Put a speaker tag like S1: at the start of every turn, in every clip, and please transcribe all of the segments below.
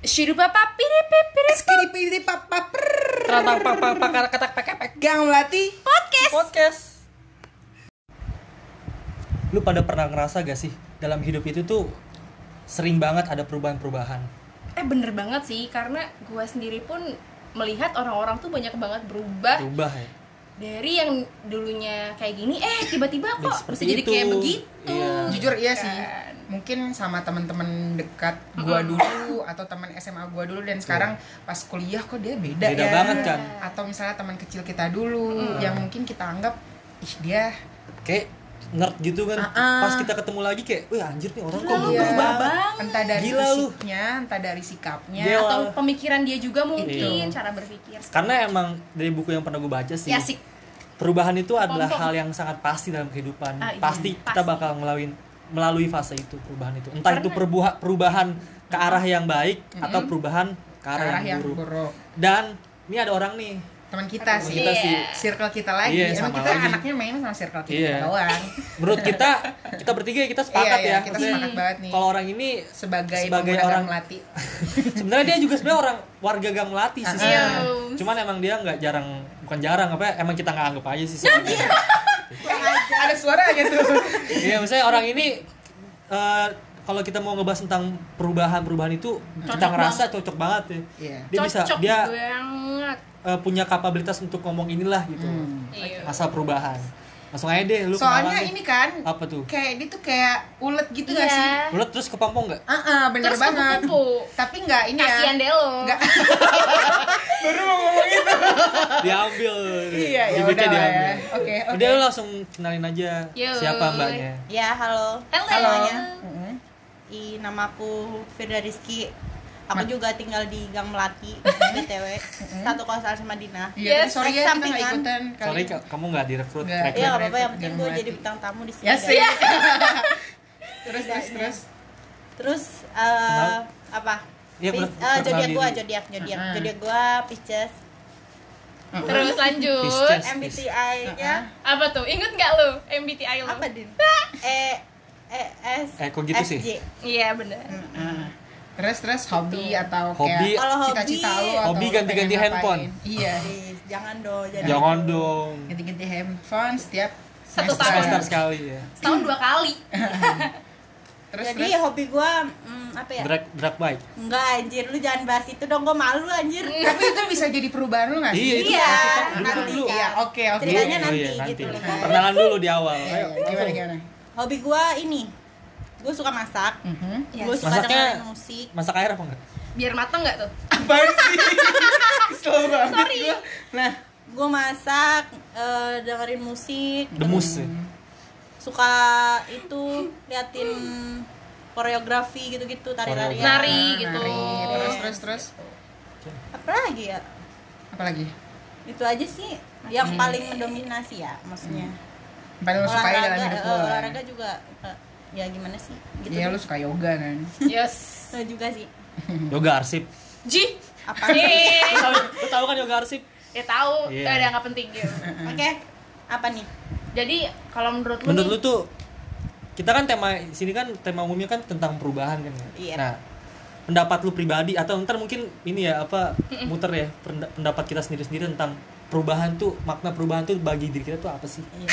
S1: Shirupa papiripipirip
S2: Skiripiri papa per.
S3: Keratang pak pak pak katak pek pek
S2: Gang Melati.
S1: podcast.
S3: podcast. Lu pada pernah ngerasa gak sih dalam hidup itu tuh sering banget ada perubahan-perubahan.
S1: Eh bener banget sih karena gue sendiri pun melihat orang-orang tuh banyak banget berubah
S3: Berubah ya.
S1: dari yang dulunya kayak gini eh tiba-tiba
S3: Jadi
S1: kok
S3: seperti
S1: bisa jadi
S3: itu.
S1: kayak begitu.
S3: Iya.
S2: Jujur iya
S1: Kan.
S2: sih. Mungkin sama teman-teman dekat gua dulu atau teman SMA gua dulu dan sekarang pas kuliah kok dia beda,
S3: Beda
S2: ya.
S3: banget kan.
S2: Atau misalnya teman kecil kita dulu yang mungkin kita anggap ih dia
S3: Kayak nerd gitu kan.
S2: Ah-ah. Iya.
S3: Pas kita ketemu lagi kayak, "Wih anjir nih orang
S1: Gila,
S3: kok
S1: lu
S3: berubah
S1: berubah
S3: banget."
S1: banget.
S2: entah dari
S3: Gila lu.
S2: fisiknya, entah dari sikapnya.
S3: Gila.
S1: Atau pemikiran dia juga
S3: Iya.
S1: mungkin
S3: Itu.
S1: cara berpikir.
S3: Karena emang dari buku yang pernah gue baca sih,
S1: Ya sih.
S3: perubahan itu adalah
S1: Pompong.
S3: hal yang sangat pasti dalam kehidupan.
S1: Ah, iya.
S3: pasti kita
S1: Pasti.
S3: bakal ngelalui melalui fase itu perubahan itu. Entah
S1: Karena-
S3: itu perubahan perubahan ke arah yang baik atau perubahan ke
S2: Ke
S3: arah,
S2: arah
S3: yang,
S2: yang
S3: buruk.
S2: buruk.
S3: Dan ini ada orang nih.
S2: Teman kita
S3: Teman
S2: sih.
S3: kita sih.
S2: Circle kita lagi.
S3: Iya,
S2: Emang
S3: sama
S2: kita
S3: lagi.
S2: anaknya main sama circle kita
S3: Iya.
S2: doang.
S3: Menurut kita kita bertiga kita sepakat
S2: iya,
S3: ya.
S2: kita
S3: Maksudnya,
S2: sepakat banget nih.
S3: Kalau orang ini
S2: Sebagai,
S3: Sebagai
S2: pemuda
S3: orang-
S2: Gang melati.
S3: sebenarnya dia juga sebenarnya orang warga Gang Melati sih.
S2: Ah,
S3: sebenarnya.
S1: iya.
S3: Cuman emang dia nggak jarang bukan jarang apa ya, emang kita nggak anggap aja
S2: Iya.
S3: sih. sebenarnya.
S2: Ada suara aja tuh.
S3: Iya, maksudnya orang ini eh, kalau kita mau ngebahas tentang perubahan-perubahan itu kita ngerasa cocok banget ya.
S2: Iya.
S3: Dia bisa
S1: Cocok gitu ya.
S3: dia
S1: banget.
S3: eh, punya kapabilitas untuk ngomong inilah gitu.
S1: Iya.
S3: Masa perubahan. Langsung aja deh lu
S2: Hmm. Soalnya
S3: kenalan deh.
S2: ini kan
S3: apa tuh?
S2: kayak dia tuh kayak ulet gitu gak sih?
S1: Iya.
S3: Lu terus kepompong nggak?
S2: Ah, ah, bener
S1: Terus
S2: banget.
S1: kupu-kupu.
S2: Tapi nggak ini
S1: Kasian
S2: ya.
S1: deh lo.
S2: Nggak. Baru mau ngomong itu.
S3: Diambil.
S2: Iya, ya
S3: Bibitnya
S2: udah lah
S3: diambil.
S2: ya. Oke, oke.
S3: Udah lu langsung kenalin aja
S1: Yoi.
S3: siapa mbaknya.
S4: Ya, halo.
S1: Halo.
S4: Semuanya. I, nama aku Firda Rizky. Aku juga tinggal di Gang Melati, BTW. Satu kosan sama Dina.
S2: Iya,
S1: Yes,
S2: tapi sorry ya kita nggak
S4: sampingan.
S2: ikutan kali.
S3: Sorry ka- kamu nggak direkrut.
S2: Nggak.
S3: rekrut.
S4: Iya, nggak apa-apa. Yang penting
S2: Gang
S4: gue
S2: Melati.
S4: jadi bintang tamu di sini.
S2: Ya
S4: guys.
S1: Iya.
S2: sih. terus terus terus.
S4: Terus, eh,
S3: Kenal.
S4: apa?
S3: Iya,
S4: Pis-
S3: ber-
S4: eh, Zodiac
S3: perkenalin
S4: gue,
S3: diri.
S4: Zodiac, Zodiac.
S2: Mm-mm.
S4: Zodiac gue, Pisces.
S1: Terus lanjut.
S3: Pisces. Yes,
S4: MBTI-nya
S1: Apa tuh? Ingat nggak lo MBTI lo?
S4: apa, Din? E, E, S,
S3: Eh, kok gitu sih?
S4: SJ.
S1: Iya bener.
S2: Ah. Terus terus
S1: Gitu.
S2: hobi atau kayak
S3: Hobi.
S4: Kalau hobi-
S2: cita-cita lu atau
S3: Hobi
S2: lu
S3: ganti-ganti
S2: pengen ngapain.
S3: handphone.
S2: Iya.
S4: Ih, Jangan dong, jadi
S3: Jangan dong.
S2: Ganti-ganti handphone setiap
S1: Satu
S2: semester.
S1: tahun.
S3: Semester sekali ya.
S1: Setahun dua kali.
S2: Terus
S4: Jadi
S2: terus.
S4: hobi gue, apa ya?
S3: Drag drag bike.
S4: Enggak anjir, lu jangan bahas itu dong, gue malu anjir
S2: Tapi itu bisa jadi perubahan lu nggak sih?
S3: Iya, itu
S4: Iya,
S3: masuk kan dulu
S4: nanti
S3: dulu.
S2: Iya,
S4: kan
S2: oke oke.
S4: Ceritanya
S3: Oh
S4: nanti
S3: iya,
S4: gitu loh kan.
S3: Perkenalan dulu di awal.
S2: Iya,
S3: Ayo.
S2: iya, Gimana gimana?
S4: Hobi gue ini, gue suka masak
S2: Mhm.
S1: Yes.
S4: Gue suka
S3: Masaknya-
S4: dengerin musik
S3: Masak air apa enggak?
S1: Biar matang nggak tuh?
S2: Apaan sih? Kesel banget
S1: Sorry.
S2: gua. Nah,
S4: Gue masak, eh, dengerin musik
S3: Demus ya.
S4: Suka itu, liatin koreografi gitu-gitu, tari-tarian
S1: Nari
S3: Iya.
S1: gitu.
S2: nari. Terus terus terus.
S4: Apa lagi ya?
S2: Apa lagi?
S4: Itu aja sih yang paling mendominasi ya maksudnya
S2: Yang Paling lu suka ya dalam
S4: Olahraga,
S2: hidup
S4: eh,
S2: lu.
S4: olahraga juga eh, ya gimana sih gitu
S2: Iya, lu suka yoga kan.
S1: Yes.
S4: Eh, juga sih
S3: Yoga arsip.
S1: Ji.
S4: apa
S3: Lu
S1: Nih.
S3: tahu, lu tahu kan yoga arsip?
S1: Ya tahu,
S3: Iya.
S1: yeah. ada nggak penting gitu.
S4: Oke, apa nih?
S1: Jadi kalau menurut lu
S3: Menurut lu
S1: nih,
S3: tuh kita kan tema di sini kan tema umumnya kan tentang perubahan kan. ya?
S4: Iya.
S3: Nah, pendapat lu pribadi atau ntar mungkin ini ya apa muter ya penda- pendapat kita sendiri-sendiri tentang perubahan tuh makna perubahan tuh bagi diri kita tuh apa sih?
S4: Iya.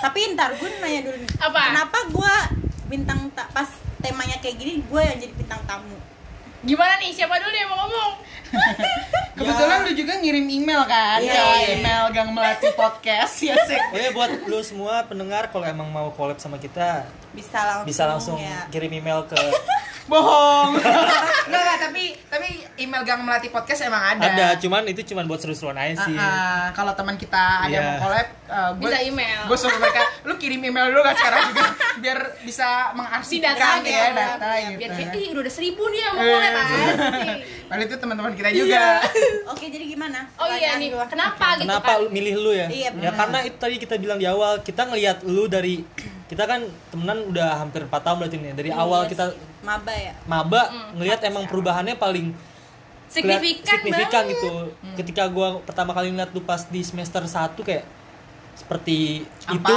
S4: Tapi ntar gue nanya dulu nih.
S1: Apa?
S4: Kenapa gue bintang ta- pas temanya kayak gini gue yang jadi bintang tamu?
S1: gimana nih? Siapa dulu yang mau ngomong?
S2: Kebetulan lu juga ngirim email kan?
S4: Iya,
S2: Ke
S4: iya.
S2: email Gang Melati Podcast ya sih.
S3: Oh ya buat lu semua pendengar kalau emang mau collab sama kita
S4: Bisa langsung.
S3: bisa langsung
S4: ya.
S3: kirim email ke
S2: Bohong. Enggak enggak, tapi tapi email Gang Melati Podcast emang ada.
S3: ada cuman itu cuman buat seru-seruan aja
S2: Ah,
S3: sih.
S2: ah, kalau teman kita ada
S3: Iya.
S2: yang mau collab, gue
S1: Bisa email.
S2: Gue suruh mereka, lu kirim email dulu kan sekarang juga biar bisa mengarsipkan
S1: Si data
S2: ya
S1: gitu.
S2: data gitu.
S1: Biar kayak, ih udah ada seribu nih yang mau
S2: Eh.
S1: ngomong pasti.
S2: Padahal itu teman-teman kita juga.
S4: Oke, jadi gimana?
S1: Oh iya
S4: Pertanyaan
S1: nih,
S4: gua.
S1: kenapa gitu
S3: Kenapa
S1: kan?
S3: lu- milih lu ya?
S4: Ah, Iya,
S3: ya
S4: benar.
S3: karena itu tadi kita bilang di awal kita ngelihat lu dari kita kan temenan udah hampir 4 tahun berarti nih. Dari awal
S4: Iya
S3: kita
S4: sih. maba ya.
S3: maba ngelihat emang perubahannya paling kelihat-
S1: Signifikan,
S3: signifikan
S1: banget.
S3: gitu. Ketika gua pertama kali ngeliat lu pas di semester 1 kayak seperti
S2: Apa?
S3: itu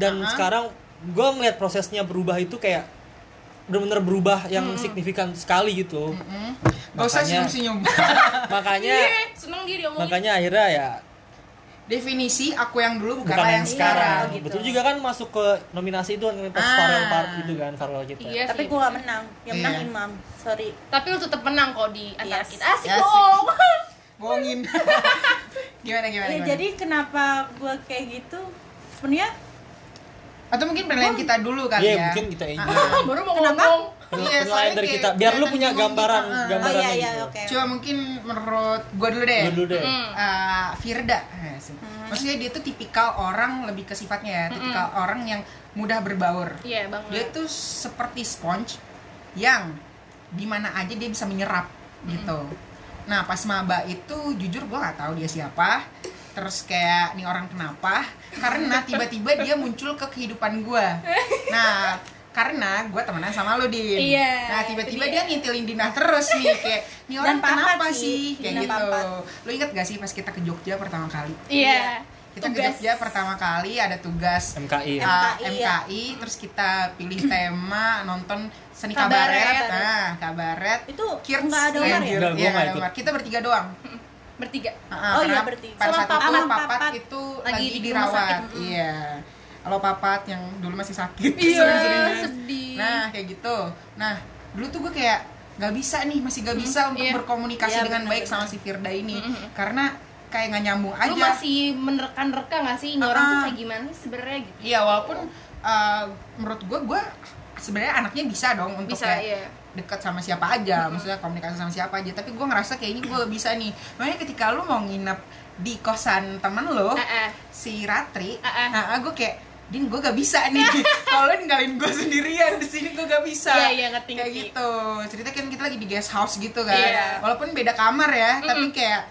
S3: dan
S2: Uh-huh.
S3: sekarang gua ngelihat prosesnya berubah itu kayak benar-benar berubah yang signifikan sekali gitu
S2: Gak usah
S3: Makanya-
S2: senyum-senyum.
S3: makanya
S1: Iya, seneng dia diomongin
S3: makanya akhirnya ya
S2: Definisi aku yang dulu bukanlah
S3: bukan
S2: yang
S3: yang
S2: sekarang.
S3: sekarang
S4: gitu.
S3: betul juga kan masuk ke nominasi itu kan pas
S2: Ah.
S3: Farel Park itu kan Farel
S1: Iya.
S3: kita
S4: tapi
S1: sih. Iya,
S4: gue gak menang yang menang
S2: Iya.
S4: imam sorry
S1: tapi lu tetap menang kok di antara
S4: Yes.
S1: kita asik
S2: Asik.
S1: dong.
S2: Bohongin. gimana gimana?
S4: ya
S2: gimana?
S4: jadi kenapa gue kayak gitu sebenarnya
S2: Atau mungkin penilaian kita dulu kali
S3: Iya,
S2: ya.
S3: mungkin kita ini
S1: baru mau ngomong
S3: Penil-
S2: Iya,
S3: penilaian
S2: soalnya
S3: dari
S2: kayak
S3: kita biar lu
S2: kelihatan
S3: punya
S2: bingung
S3: gambaran
S2: kita, ah.
S4: oh
S3: gambaran
S4: iya iya oke
S2: Coba mungkin menurut gua dulu deh.
S3: dulu deh
S1: Mm.
S2: Eh, Firda, Eh, sih. maksudnya dia tuh tipikal orang lebih ke sifatnya ya, tipikal orang yang mudah berbaur.
S1: iya
S2: Dia
S1: banget
S2: tuh seperti sponge yang dimana aja dia bisa menyerap gitu. Nah pas maba itu jujur gua nggak tahu dia siapa. Terus kayak nih orang kenapa? Karena tiba-tiba dia muncul ke kehidupan gua. Nah karena gua temenan sama lo din.
S1: Iya,
S2: nah tiba-tiba dia ngintilin Dina terus nih kayak nih orang
S4: Dan papat
S2: kenapa
S4: sih.
S2: sih, kayak
S4: Dina
S2: gitu.
S4: papat.
S2: Lo inget gak sih pas kita ke Jogja pertama kali?
S1: iya
S2: Kita ke
S4: Tugas.
S2: Jogja pertama kali ada tugas
S3: MKI ya.
S2: Ah,
S4: MKI,
S2: MKI,
S4: ya.
S2: terus kita pilih tema nonton seni
S4: Kabaret,
S2: kabaret,
S4: kabaret.
S2: nah kabaret
S4: Itu
S2: Kirts
S4: nggak ada Omar
S2: Ranger.
S4: ya?
S2: Iya,
S3: Nggak, gua nggak
S2: nggak ada
S3: ikut.
S2: Omar. kita bertiga doang
S1: bertiga
S2: Ah, ah,
S4: Oh,
S2: karena
S4: iya, bertiga.
S2: pada
S4: Sama
S2: saat
S4: Papat.
S2: itu
S4: Sama
S2: papat,
S4: Papat.
S2: itu
S4: Lagi
S2: lagi,
S4: di rumah
S2: dirawat
S4: sakit, mm.
S2: iya kalau papat yang dulu masih sakit
S1: iya
S2: sering-seringan.
S1: sedih
S2: Nah, kayak gitu. Nah, dulu tuh gue kayak nggak bisa nih, masih nggak bisa untuk
S1: iya.
S2: berkomunikasi
S4: Iya,
S2: dengan
S4: benar,
S2: baik
S4: benar.
S2: sama si Firda ini. Karena kayak nggak nyambung aja.
S1: lu masih menerka-nerka nggak sih ini orang tuh
S2: Ah.
S1: kayak gimana sih sebenarnya gitu
S2: Iya, walaupun uh, menurut gue gue sebenarnya anaknya bisa dong untuk
S1: bisa
S2: kayak
S1: iya
S2: dekat sama siapa aja, maksudnya komunikasi sama siapa aja. Tapi gue ngerasa kayaknya gue bisa nih. Makanya ketika lu mau nginep di kosan temen lo,
S1: Ah, ah.
S2: si Ratri,
S1: Ah, ah.
S2: nah gue kayak Din gue gak bisa nih, kalau lu ninggalin gue sendirian di sini gue gak bisa.
S1: Iya, iya, ngerti,
S2: Kayak
S1: ngerti.
S2: gitu. Cerita kan kita lagi di guest house gitu kan,
S1: Iya.
S2: walaupun beda kamar ya, tapi kayak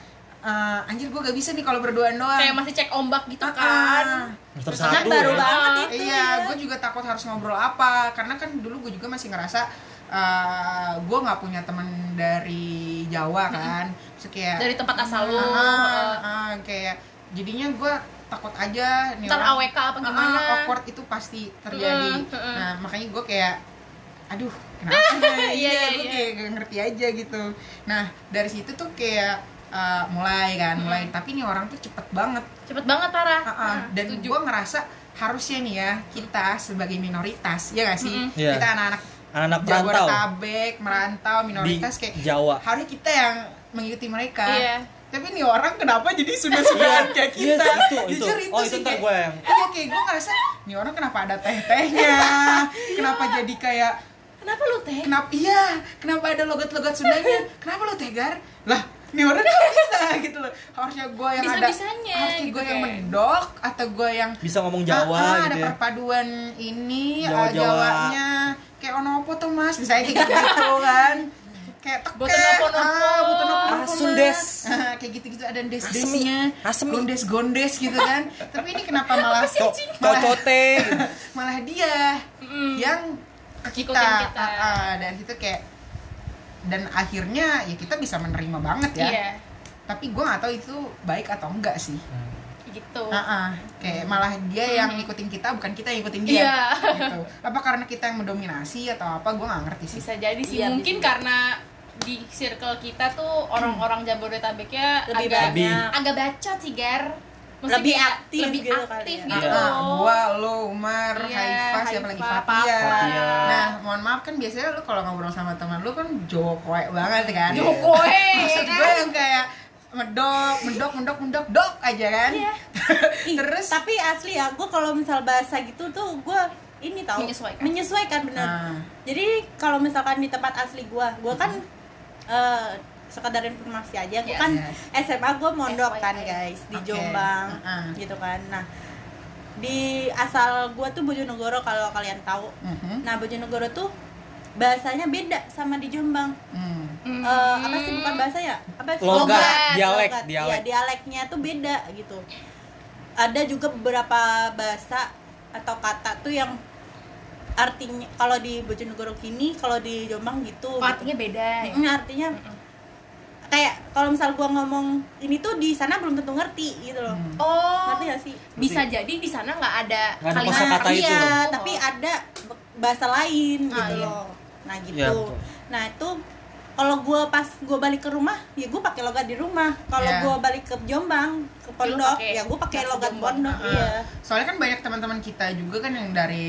S2: eh, anjir gue gak bisa nih kalau berduaan doang.
S1: kayak masih cek ombak gitu
S2: Ah,
S1: kan
S2: ah.
S3: Semester
S2: Terus
S3: satu
S4: Kan baru
S3: ya.
S4: banget
S1: Ah,
S4: itu
S2: Iya,
S4: ya.
S2: gue juga takut harus ngobrol apa karena kan dulu gue juga masih ngerasa eh gue nggak punya teman dari Jawa kan, Terus kayak
S1: dari tempat asal lu
S2: Ah,
S1: eh,
S2: ah, kayak jadinya gue takut aja nih
S1: ntar
S2: orang-
S1: AWK apa
S2: Ah,
S1: gimana Mm,
S2: awkward itu pasti terjadi.
S1: Heeh, heeh.
S2: Nah makanya gue kayak aduh kenapa
S1: Iya, iya,
S2: iya gue
S1: iya.
S2: kayak gak ngerti aja gitu. Nah dari situ tuh kayak eh, mulai kan mulai tapi nih orang tuh cepet banget
S1: cepet banget parah
S2: Ah, ah. dan gue ngerasa harusnya nih ya kita sebagai minoritas ya gak sih
S1: Mm-mm.
S3: Iya.
S2: kita anak-anak
S3: anak-anak perantau
S2: Jabodetabek merantau minoritas
S3: Di
S2: kayak
S3: Jawa.
S2: harusnya kita yang mengikuti mereka
S1: Iya.
S2: tapi nih orang kenapa jadi sudah sudahan kayak
S3: Iya,
S2: kita
S3: itu, itu.
S2: jujur
S3: Oh,
S2: sih
S3: itu ntar
S2: kayak-
S3: gue yang-
S2: iya kayak gue ngerasa nih orang kenapa ada teh-tehnya kenapa jadi kayak
S1: kenapa lu teh
S2: kenapa iya kenapa ada logat-logat Sundanya kenapa lo tegar lah ini orang nggak bisa gitu loh harusnya gue yang ada
S1: Bisa-bisanya,
S2: harusnya
S1: gitu
S2: gue yang
S1: kayak.
S2: mendok atau gue yang
S3: bisa ngomong
S2: "Ah,
S3: Jawa
S2: ah, ada
S3: gitu ya
S2: perpaduan ini
S3: Jawa-Jawa.
S2: ah, Jawanya kayak ono apa tuh mas misalnya kayak gitu kan kayak teke
S1: Boten opo-nopo.
S2: ah, boten opo-nopo, Mas.
S3: Asun des.
S2: Ah, kayak gitu-gitu ada
S3: Asmi,
S2: des-desnya
S3: asmi.
S2: gondes-gondes gitu kan tapi ini kenapa malah
S3: Kok
S2: malah-
S3: cocote
S2: malah dia yang ke kita,
S1: Ngikutin kita.
S2: Ah, ah, dan itu kayak dan akhirnya ya kita bisa menerima banget ya
S1: iya
S2: tapi gue nggak tahu itu baik atau enggak sih
S1: gitu
S2: Ah, ah. kayak malah dia yang ngikutin kita bukan kita yang ngikutin dia
S1: Iya.
S2: gitu apa karena kita yang mendominasi atau apa gue nggak ngerti sih
S1: bisa jadi sih
S4: Iya,
S1: mungkin
S4: bisa.
S1: karena di circle kita tuh orang-orang Jabodetabeknya
S4: lebih
S1: agak
S3: Lebih.
S4: banyak
S1: agak bacot sih gar Maksudnya
S4: Lebih
S1: kayak
S4: aktif
S1: lebih
S4: gitu
S1: aktif
S4: kali ya.
S1: gitu
S2: Ah, ah. gua lo Umar
S1: Iya,
S2: Haifa siapa lagi
S1: Haifa,
S2: Fatia
S3: Fatia.
S2: nah mohon maaf kan biasanya lu kalau ngobrol sama teman lu kan jokoe banget kan
S1: Jokowi
S2: maksud gue yang kayak medok medok medok medok dok aja kan
S4: Ih,
S2: terus
S4: tapi asli ya gue kalau misal bahasa gitu tuh gue ini tau
S1: Menyesuaikan. Ah.
S4: menyesuaikan bener
S2: Nah.
S4: jadi kalau misalkan di tempat asli gue gue kan eh, sekadar informasi aja gue
S1: Yes.
S4: kan
S2: Hmm. Yes.
S4: SMA gue mondok
S1: FYI.
S4: kan guys di
S2: Oke.
S4: Jombang
S2: Uh-uh.
S4: gitu kan nah di asal gue tuh Bojonegoro kalau kalian tahu
S2: Mhm.
S4: nah Bojonegoro tuh bahasanya beda sama di Jombang
S2: Hmm.
S1: Hmm.
S4: Eh, apa sih bukan bahasa ya apa sih?
S3: Logat, dialek,
S4: logat. Iya,
S3: dialek.
S4: dialeknya tuh beda gitu ada juga beberapa bahasa atau kata tuh yang artinya kalau di Bojonegoro gini kalau di Jombang gitu
S1: Oh, artinya beda ya?
S4: Mm, artinya kayak kalau misal gua ngomong ini tuh di sana belum tentu ngerti gitu loh
S1: oh
S4: ngerti gak sih
S1: bisa jadi di sana nggak ada
S3: Nggak ada
S1: kalimat
S3: kosakata
S1: Iya,
S4: Oh.
S3: itu.
S4: iya tapi ada bahasa lain
S2: Ah,
S4: gitu
S2: iya.
S4: loh nah gitu
S3: Iya, betul.
S4: nah itu kalau gue pas gue balik ke rumah ya gue pakai logat di rumah kalau
S2: Iya.
S4: gue balik ke Jombang ke pondok
S1: pakai
S4: ya gue pakai
S1: bahasa
S4: logat
S1: Jombang. Ah,
S4: pondok
S2: Heeh.
S4: iya
S2: Soalnya kan banyak teman-teman kita juga kan yang dari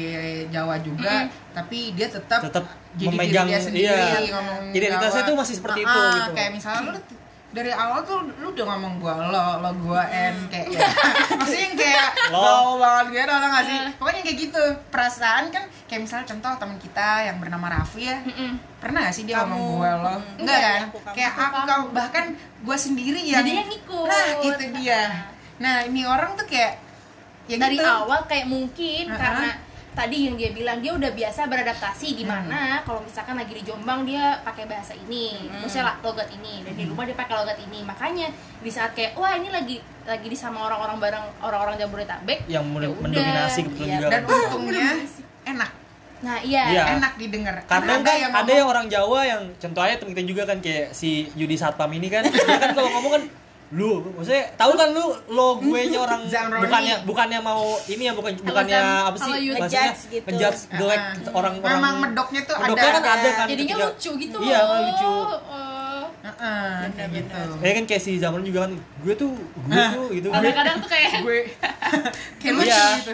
S2: Jawa juga, tapi dia tetap
S3: Tetap
S2: jadi diri
S3: memegang,
S2: dia sendiri,
S3: iya.
S2: ngomong
S3: Identitasnya
S2: Jawa.
S3: tuh masih seperti itu,
S2: Heeh,
S3: gitu.
S2: Kayak misalnya lu t- dari awal tuh lu udah ngomong gua lo, lo gua en kayak ya. maksudnya yang kayak
S3: Lo.
S2: lo banget gitu tau gak sih? Pokoknya yang kayak gitu. Perasaan kan kayak misalnya contoh teman kita yang bernama Raffi ya, pernah gak sih dia
S4: Kamu.
S2: ngomong gue lo
S4: Mm.
S2: enggak kan
S4: Aku, kamu.
S2: kayak aku
S1: Kamu.
S2: kamu bahkan gue sendiri yang
S1: Jadi yang ngikut.
S2: nah gitu dia nah ini orang tuh kayak ya
S1: dari
S2: gitu.
S1: awal kayak mungkin
S2: Uh-uh.
S1: karena tadi yang dia bilang dia udah biasa beradaptasi di mana kalau misalkan lagi di Jombang dia pakai bahasa ini,
S3: Hmm.
S1: misalnya la- logat ini dan di rumah dia pakai logat ini. Makanya di saat kayak wah ini lagi lagi di sama orang-orang bareng orang-orang Jabodetabek
S3: yang
S1: ya
S3: men-
S1: udah.
S3: mendominasi kebetulan
S4: iya.
S3: juga
S2: dan
S3: kan.
S2: untungnya enak
S1: Nah, iya.
S3: Iya.
S2: enak didengar
S3: kadang
S2: Karena
S3: kan ada yang orang Jawa yang contohnya temen kita juga kan kayak si Yudi Satpam ini kan dia kan kalau ngomong kan lu maksudnya tahu kan lu lo gue nya orang
S2: Zamroni.
S3: bukannya bukannya mau ini ya bukan bukannya
S1: Alasan-
S3: apa sih
S1: kalau Yudi-
S3: bahasanya
S4: Ngejudge gitu.
S3: ngejudge
S2: Ah,
S3: jelek
S2: ah.
S3: orang-orang
S2: memang medoknya tuh
S3: Medoknya
S2: ada
S3: kan ada kan
S1: Jadinya
S3: ketika-
S1: lucu gitu
S3: iya
S1: loh.
S3: lucu
S1: Oh.
S2: Heeh, kayak gitu
S3: ya kan kayak si Zamroni juga kan gue tuh gue
S2: Ah.
S3: tuh gitu gue
S1: Kadang-kadang tuh kayak
S2: gue kayak lucu
S3: Iya.
S2: gitu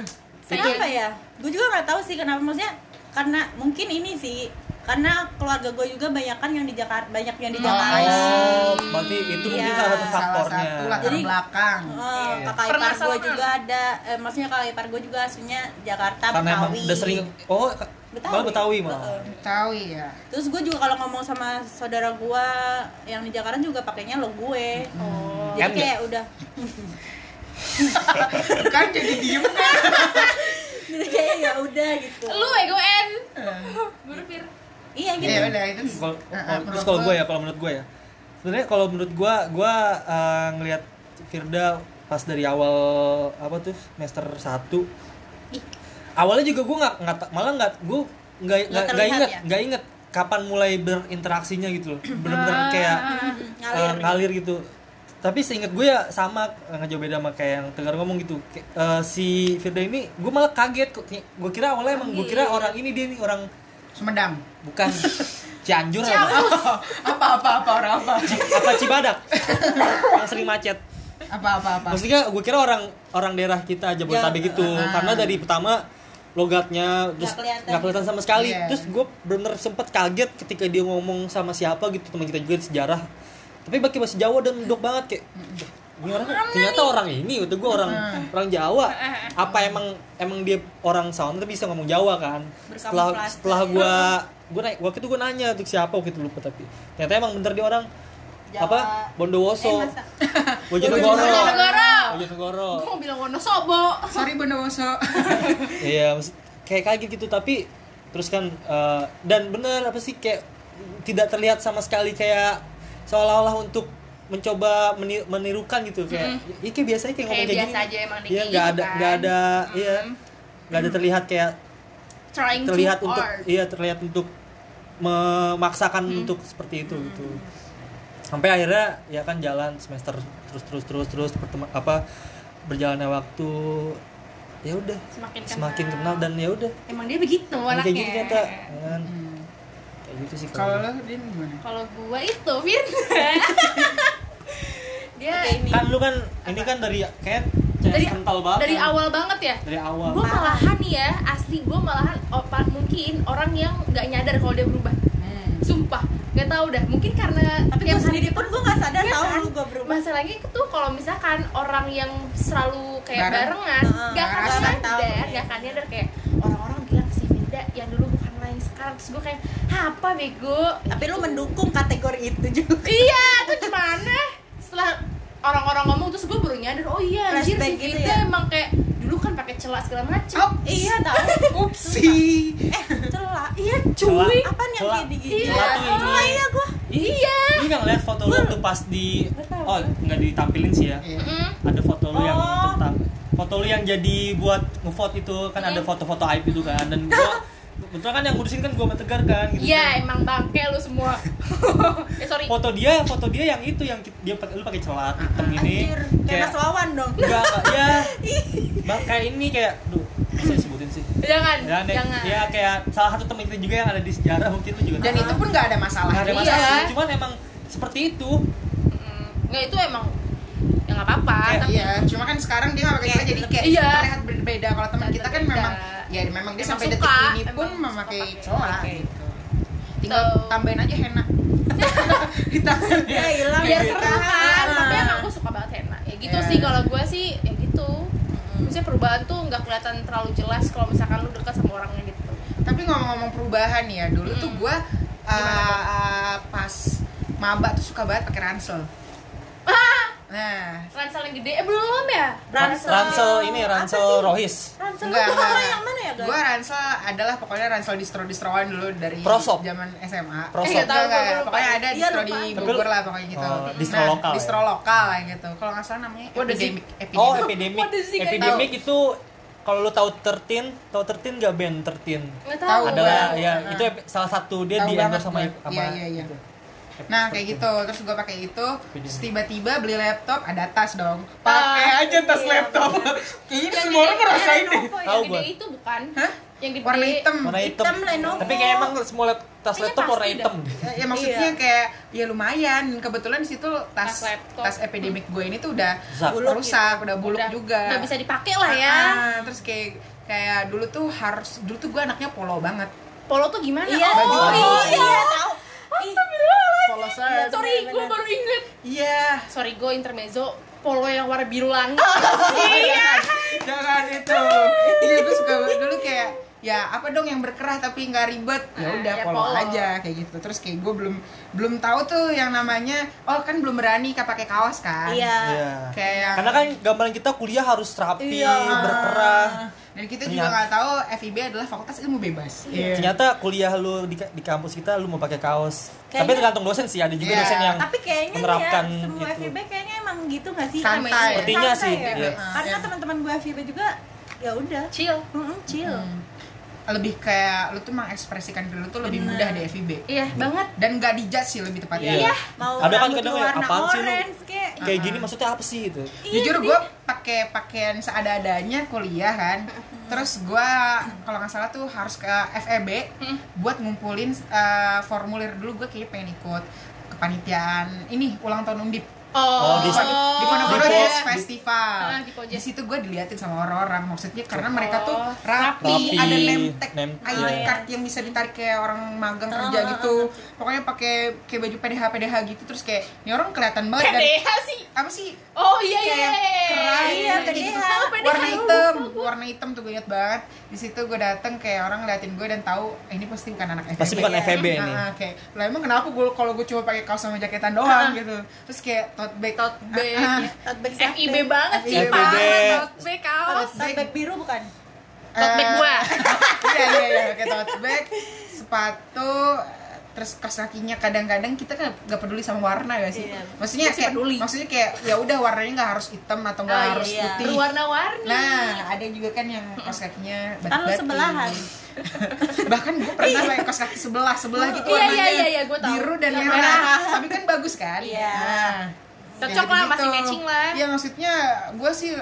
S4: Kenapa ya? Gue juga nggak tahu sih kenapa maksudnya karena mungkin ini sih karena keluarga gue juga banyak kan yang di Jakarta banyak yang di
S1: Hmm,
S2: Oh,
S4: Jakarta.
S3: oh berarti itu
S4: Iya.
S3: mungkin salah satu
S2: salah
S3: faktornya
S2: satu latar
S4: Jadi-
S2: belakang
S4: Oh,
S3: Iya.
S4: kakak ipar gue
S1: Permasalahan.
S4: juga ada, eh, maksudnya kakak ipar gue juga aslinya Jakarta,
S3: karena emang
S4: Betawi.
S3: udah sering oh ka- malah Betawi malah
S4: Heeh.
S2: tahu ya
S4: Terus gue juga kalau ngomong sama saudara gue yang di Jakarta juga pakainya lo gue.
S1: Oh.
S3: Kan
S4: Jadi kayak udah,
S2: kan jadi diem kan
S4: jadi kayak ya udah gitu.
S1: lu egoen.
S2: Iya,
S1: Berpikir
S4: Iya gitu.
S2: ya udah itu
S3: Kalau-
S2: Heeh,
S3: kalau- terus
S2: menurut
S3: kalau gue
S2: gua-
S3: ya kalau menurut gue ya sebenarnya kalau menurut gue gue eh, ngelihat Firda pas dari awal apa tuh semester 1 awalnya juga gue nggak nggak ta- malah nggak gue nggak nggak nggak
S4: terlihat
S3: inget
S4: ya?
S3: nggak inget kapan mulai berinteraksinya gitu loh bener-bener kayak
S4: Mm,
S3: ngalir,
S4: Ngalir.
S3: ngalir gitu tapi seinget gue ya sama eh, nggak jauh beda sama kayak yang tegar ngomong gitu Kayak, eh, si Firda ini gue malah kaget kok gue kira awalnya emang gue kira orang ini dia nih orang
S2: Sumedang
S3: bukan Cianjur apa?
S2: apa apa apa orang apa
S3: apa Cibadak yang sering macet
S2: apa apa apa
S3: maksudnya gue kira orang orang daerah kita Jabodetabek gitu
S2: ah.
S3: karena dari pertama logatnya terus
S4: kelihatan.
S3: nggak kelihatan sama sekali
S2: Iya.
S3: terus gue bener sempet kaget ketika dia ngomong sama siapa gitu teman kita juga di sejarah tapi pakai bahasa Jawa dan mendok banget kayak ini orang ternyata orang ini udah gue orang orang Jawa apa emang emang dia orang sound tapi bisa ngomong Jawa kan setelah
S4: Berkamuflase.
S3: setelah gue gue naik waktu itu gue nanya tuh siapa waktu itu lupa tapi ternyata emang bener dia orang
S4: Jawa.
S3: apa Bondowoso
S4: Eh, masa?
S3: Bojonegoro
S1: Bojonegoro.
S3: Oh, Bojonegoro
S1: Gue mau bilang Wonosobo.
S2: sorry Bondowoso
S3: iya maksud- kayak kaget gitu tapi terus kan eh, dan benar apa sih kayak tidak terlihat sama sekali kayak seolah-olah untuk mencoba meni- menirukan gitu kayak ya kayak biasanya kayak ngomong
S1: Mm-hmm. Kayak biasa
S3: kayak, gini
S1: aja emang dia
S3: iya
S1: kayak
S3: nggak
S1: gitu
S3: ada
S1: kan. Mm-hmm.
S3: nggak ada iya nggak ada terlihat kayak
S1: Trying
S3: terlihat
S1: too
S3: untuk
S1: hard.
S3: iya terlihat untuk memaksakan
S1: Mm-hmm.
S3: untuk seperti itu gitu sampai akhirnya ya kan jalan semester terus terus terus terus pertema- apa berjalannya waktu ya udah
S1: Semakin kenal.
S3: semakin kenal dan ya udah
S1: Emang dia begitu
S3: kayak
S1: anaknya.
S3: gitu ternyata kan kayak gitu sih
S2: Hmm. kalau
S3: kalau
S2: lo Din gimana
S1: Kalau gua itu Firda. dia
S4: Kayak ini.
S3: kan lu kan ini kan dari kayak kayak
S1: dari
S3: kental banget
S1: dari
S3: kan.
S1: awal banget ya.
S3: dari awal
S1: Gue malahan nih ya, asli gue malahan opa, mungkin orang yang nggak nyadar kalau dia berubah.
S2: Hmm.
S1: Sumpah, nggak tahu dah. Mungkin karena
S4: Tapi
S1: tiap
S4: gue
S1: hari
S4: sendiri pun gue nggak sadar
S1: Iya
S4: tahu
S1: kan?
S4: lu gue berubah.
S1: masalahnya itu kalau misalkan orang yang selalu kayak
S2: Bareng.
S1: barengan
S4: Heeh,
S1: nggak akan
S4: nggak akan tahu,
S1: sadar
S4: iya.
S1: nggak akan nyadar kayak orang-orang bilang si Firda yang dulu bukan lain sekarang terus gue kayak "Hah, apa bego Gitu.
S4: Tapi lu mendukung kategori itu juga.
S1: iya itu gimana setelah orang-orang ngomong terus gue baru nyadar oh iya anjir si
S4: Flashback gitu
S1: Firda
S4: ya?
S1: emang kayak dulu kan pakai celak segala macam
S2: Oh,
S4: iya tahu.
S2: upsi
S4: Eh, celah. Iya,
S3: Celah.
S4: cuy. Apaan yang
S3: Celah.
S4: kayak gini?
S3: Celah tuh ini.
S4: Celah iya gue.
S3: iya lu nggak ngeliat foto lu tuh pas di
S4: tahu.
S3: oh nggak ditampilin sih ya
S2: Iya.
S1: Mm-mm.
S3: ada foto lu yang
S4: Oh.
S3: tentang foto lu yang jadi buat ngevote itu kan
S1: Iya.
S3: ada foto-foto aib itu kan dan gua betul kan yang ngurusin kan gua sama tegar kan gitu
S1: iya
S3: kan.
S1: emang bangke lu semua eh sorry
S3: foto dia foto dia yang itu yang ki- dia pakai- lu pakai celak hitam
S1: Ah,
S3: ini
S4: Anjir, kayak Mas Wawan dong.
S3: enggak enggak, ya Bang, kayak ini kayak duh masa disebutin sih
S1: jangan
S3: Ya, Nek.
S1: jangan
S3: ya kayak salah satu teman kita juga yang ada di sejarah mungkin lu juga
S2: dan
S3: tahu.
S2: itu pun nggak ada masalah
S3: Nggak ada
S1: Iya.
S3: masalah cuman emang seperti itu
S1: Mm, nggak itu emang ya nggak apa-apa
S3: Iya,
S1: tapi
S2: Iya, cuma kan sekarang dia nggak pakai celana jadi kayak
S1: Iya.
S2: terlihat berbeda. Kalau teman kita kan
S1: Berbeda.
S2: memang ya memang dia
S1: Emang
S2: sampai detik
S1: suka,
S2: ini pun
S1: emang
S2: memakai
S1: suka pakai
S2: celana
S4: celana.
S2: gitu. Tinggal
S1: Tuh.
S2: tambahin aja henna. kita
S4: ya hilang
S1: biar
S4: gitu.
S1: seru kan
S4: Ah.
S1: tapi emang gue suka banget henna ya gitu
S2: Iya.
S1: sih kalau gue sih ya gitu Maksudnya perubahan tuh nggak kelihatan terlalu jelas kalau misalkan lu dekat sama orangnya gitu
S2: Tapi ngomong-ngomong perubahan ya, dulu tuh
S1: Mm.
S2: gua uh,
S1: Gimana tuh?
S2: uh, pas maba tuh suka banget pakai ransel.
S1: Ah.
S2: Nah,
S1: ransel yang gede eh belum ya
S4: Ransel.
S3: ini
S4: Apa
S3: ransel
S4: sih?
S3: rohis
S4: Ransel lu
S2: enggak,
S4: tuh orang
S2: enggak.
S4: yang mana ya guys?
S2: Gua ransel adalah pokoknya ransel distro-distroan dulu dari
S3: Prosop.
S2: zaman SMA. Eh,
S3: Prosop.
S2: nggak tahu,
S1: Iya,
S2: nggak, nggak.
S1: lupa.
S2: Pokoknya ada
S4: Iya,
S2: distro
S4: lupa.
S2: di
S3: Tapi
S2: Bogor
S3: lu-
S2: lah pokoknya gitu.
S3: Oh, distro lokal ya?
S2: Distro lokal lah gitu. Kalau nggak salah namanya
S1: What does it-
S2: epidemic. epidemic.
S3: oh epidemic
S1: Waduh, sih, nggak
S3: epidemic itu kalau lu tahu 13 tahu 13 gak band 13
S1: nggak
S2: Tahu
S1: tahu
S2: gua.
S3: adalah ya
S2: Nah.
S3: itu ep- salah satu dia
S2: Tahu
S3: di
S2: banget
S3: endorse sama gitu.
S2: gua.
S3: sama
S2: Iya, iya, iya.
S3: itu. Ep-
S2: Nah kayak gitu,
S3: seperti
S2: terus gue pakai itu, terus
S3: Epidemic.
S2: tiba-tiba beli laptop, ada tas dong. Pakai aja tas
S4: iya,
S2: laptop. Kayaknya ini semua orang ngerasain deh.
S1: Lenovo,
S3: Tahu
S1: yang gede
S3: gua.
S1: itu bukan
S2: Hah?
S1: yang gede
S2: Warna hitam.
S3: itu. warna hitam,
S4: Hitam, Lenovo.
S3: tapi kayak emang semua lap- tas
S1: Kayaknya
S3: laptop warna
S1: pasti
S3: hitam
S1: dah.
S2: Ya, ya, maksudnya
S4: Iya.
S2: kayak ya lumayan. Kebetulan di situ tas
S1: Tas laptop.
S2: tas epidemic gue ini tuh udah
S3: Rusak.
S4: Buluk
S2: rusak, udah buluk
S1: Udah,
S2: juga.
S1: nggak bisa dipakai lah ya
S2: Ah, terus kayak kayak dulu tuh harus dulu tuh gue anaknya polo banget.
S1: polo tuh gimana
S4: Iya,
S1: oh
S2: baju
S1: iya,
S2: polo.
S1: iya.
S4: tahu. Ih,
S2: Polo
S1: Eh,
S2: shirt.
S1: sorry gue
S4: Bener-bener.
S1: baru inget
S2: Iya.
S1: sorry gue intermezzo polo yang warna biru langit
S2: Iya. Jangan itu. Iya, gue suka banget. dulu kayak ya apa dong yang berkerah tapi nggak ribet ya
S1: Ah,
S2: udah
S1: ya
S2: polo
S1: polo.
S2: aja kayak gitu terus kayak gue belum belum tahu tuh yang namanya oh kan belum berani kayak pakai kaos kan
S4: Iya.
S3: Iya.
S2: kayak yang-
S3: karena kan gambaran kita kuliah harus rapi
S4: Iya.
S3: berkerah
S2: Ah, dan kita juga
S3: Ternyata-
S2: nggak tahu FIB adalah fakultas ilmu bebas Iya.
S3: ternyata kuliah lu di, di kampus kita lu mau pakai kaos tapi
S4: Kayaknya-
S3: tergantung dosen sih ada
S2: Iya.
S3: juga dosen yang
S4: tapi kayaknya nih ya
S3: menerapkan
S4: semua
S3: itu.
S4: FIB kayaknya emang gitu nggak sih
S2: Santai.
S4: namanya?
S3: Sepertinya
S4: Santai
S3: sih,
S4: ya.
S3: iya.
S4: karena
S2: Iya.
S4: teman-teman gue FIB juga ya udah
S1: chill
S4: Mm-mm, chill
S2: lebih kayak lu tuh mengekspresikan diri lu tuh lebih
S4: Bener.
S2: mudah di FIB
S1: iya
S3: Hmm.
S1: banget
S2: dan nggak dijudge sih lebih tepatnya
S3: Iya.
S4: mau
S3: Ada kan
S4: rambut
S3: kadang
S4: lu
S3: ya,
S4: warna
S3: apaan sih lu?
S4: orange kayak
S3: kayak gini maksudnya apa sih itu
S2: jujur gue pakai pakaian seada-adanya kuliah kan terus gue kalau nggak salah tuh harus ke FEB buat ngumpulin eh, formulir dulu gue kayaknya pengen ikut kepanitiaan ini ulang tahun undip
S3: Oh, di-
S2: di Ponorogo
S3: Di
S2: Jazz
S3: pos-
S2: Festival.
S1: Ah, di
S2: di,
S1: pos jazz.
S2: situ gue diliatin sama orang-orang. Maksudnya karena mereka tuh
S1: Oh,
S2: rapi,
S3: rapi.
S2: ada name tag,
S3: Name tag.
S2: ID
S4: Iya.
S2: card yang bisa ditarik kayak orang magang kerja
S4: ah,
S2: gitu. Pokoknya pakai kayak baju PDH PDH gitu terus kayak ini orang kelihatan banget dan
S1: PDH sih
S2: apa sih?
S1: oh iya iya
S2: Kayak kerai,
S4: Iya,
S2: kayak
S4: PDH.
S2: gitu.
S1: Oh, PDH.
S2: warna hitam, warna hitam tuh gue liat banget. Di situ gue dateng kayak orang ngeliatin gue dan tahu eh, ini pasti bukan anak
S3: pasti
S2: FEB.
S3: bukan
S4: Iya.
S3: FEB ini
S2: Ah, kayak lah emang kenapa gue kalau gue cuma pakai kaos sama jaketan
S1: Ah.
S2: doang gitu terus kayak tote bag
S1: Tote bag,
S2: Ah, ah.
S1: ya.
S4: Outback sate.
S1: FIB banget sih
S2: FIB.
S1: pak
S3: FIB.
S1: Outback kaos
S4: Outback Oh, biru bukan
S2: Eh,
S1: tote bag gua
S2: iya iya iya pakai tote bag sepatu terus kaos kakinya kadang-kadang kita kan nggak peduli sama warna ya sih
S4: Iya.
S2: maksudnya
S1: Nggak sih
S2: kayak
S1: peduli.
S2: maksudnya kayak ya udah warnanya nggak harus hitam atau nggak
S4: Oh, iya,
S2: harus
S4: iya.
S2: putih
S1: berwarna-warni
S2: nah ada juga kan yang kaos kakinya
S4: Kan lu
S2: bat-bati.
S4: sebelahan.
S2: bahkan gue pernah pakai kaos kaki sebelah sebelah gitu
S1: Iya,
S2: warnanya
S1: iya, iya, iya, gua tahu.
S2: biru dan
S1: Sama
S2: merah
S1: merah.
S2: tapi kan bagus kan
S4: Iya.
S2: Nah,
S1: Cocok
S2: kayak
S1: lah,
S2: gitu-gitu.
S1: masih matching lah.
S2: iya maksudnya gue sih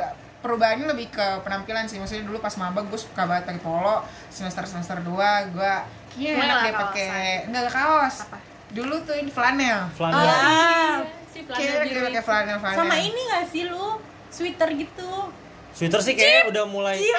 S2: perubahannya lebih ke penampilan sih maksudnya dulu pas maba gue suka banget pakai polo semester semester 2 gue kayaknya
S1: Mulai
S2: enak
S1: lah
S2: deh pakai
S1: kaosan.
S2: enggak enggak kaos
S1: Iya, Apa?
S2: dulu tuh ini flanel
S3: Flanel.
S4: Iya.
S1: si
S2: kayaknya
S1: biru
S2: kayak pakai
S1: itu.
S2: flanel flanel
S4: sama ini nggak sih lu sweater gitu
S3: Sweater sih kayaknya udah mulai
S2: Iya,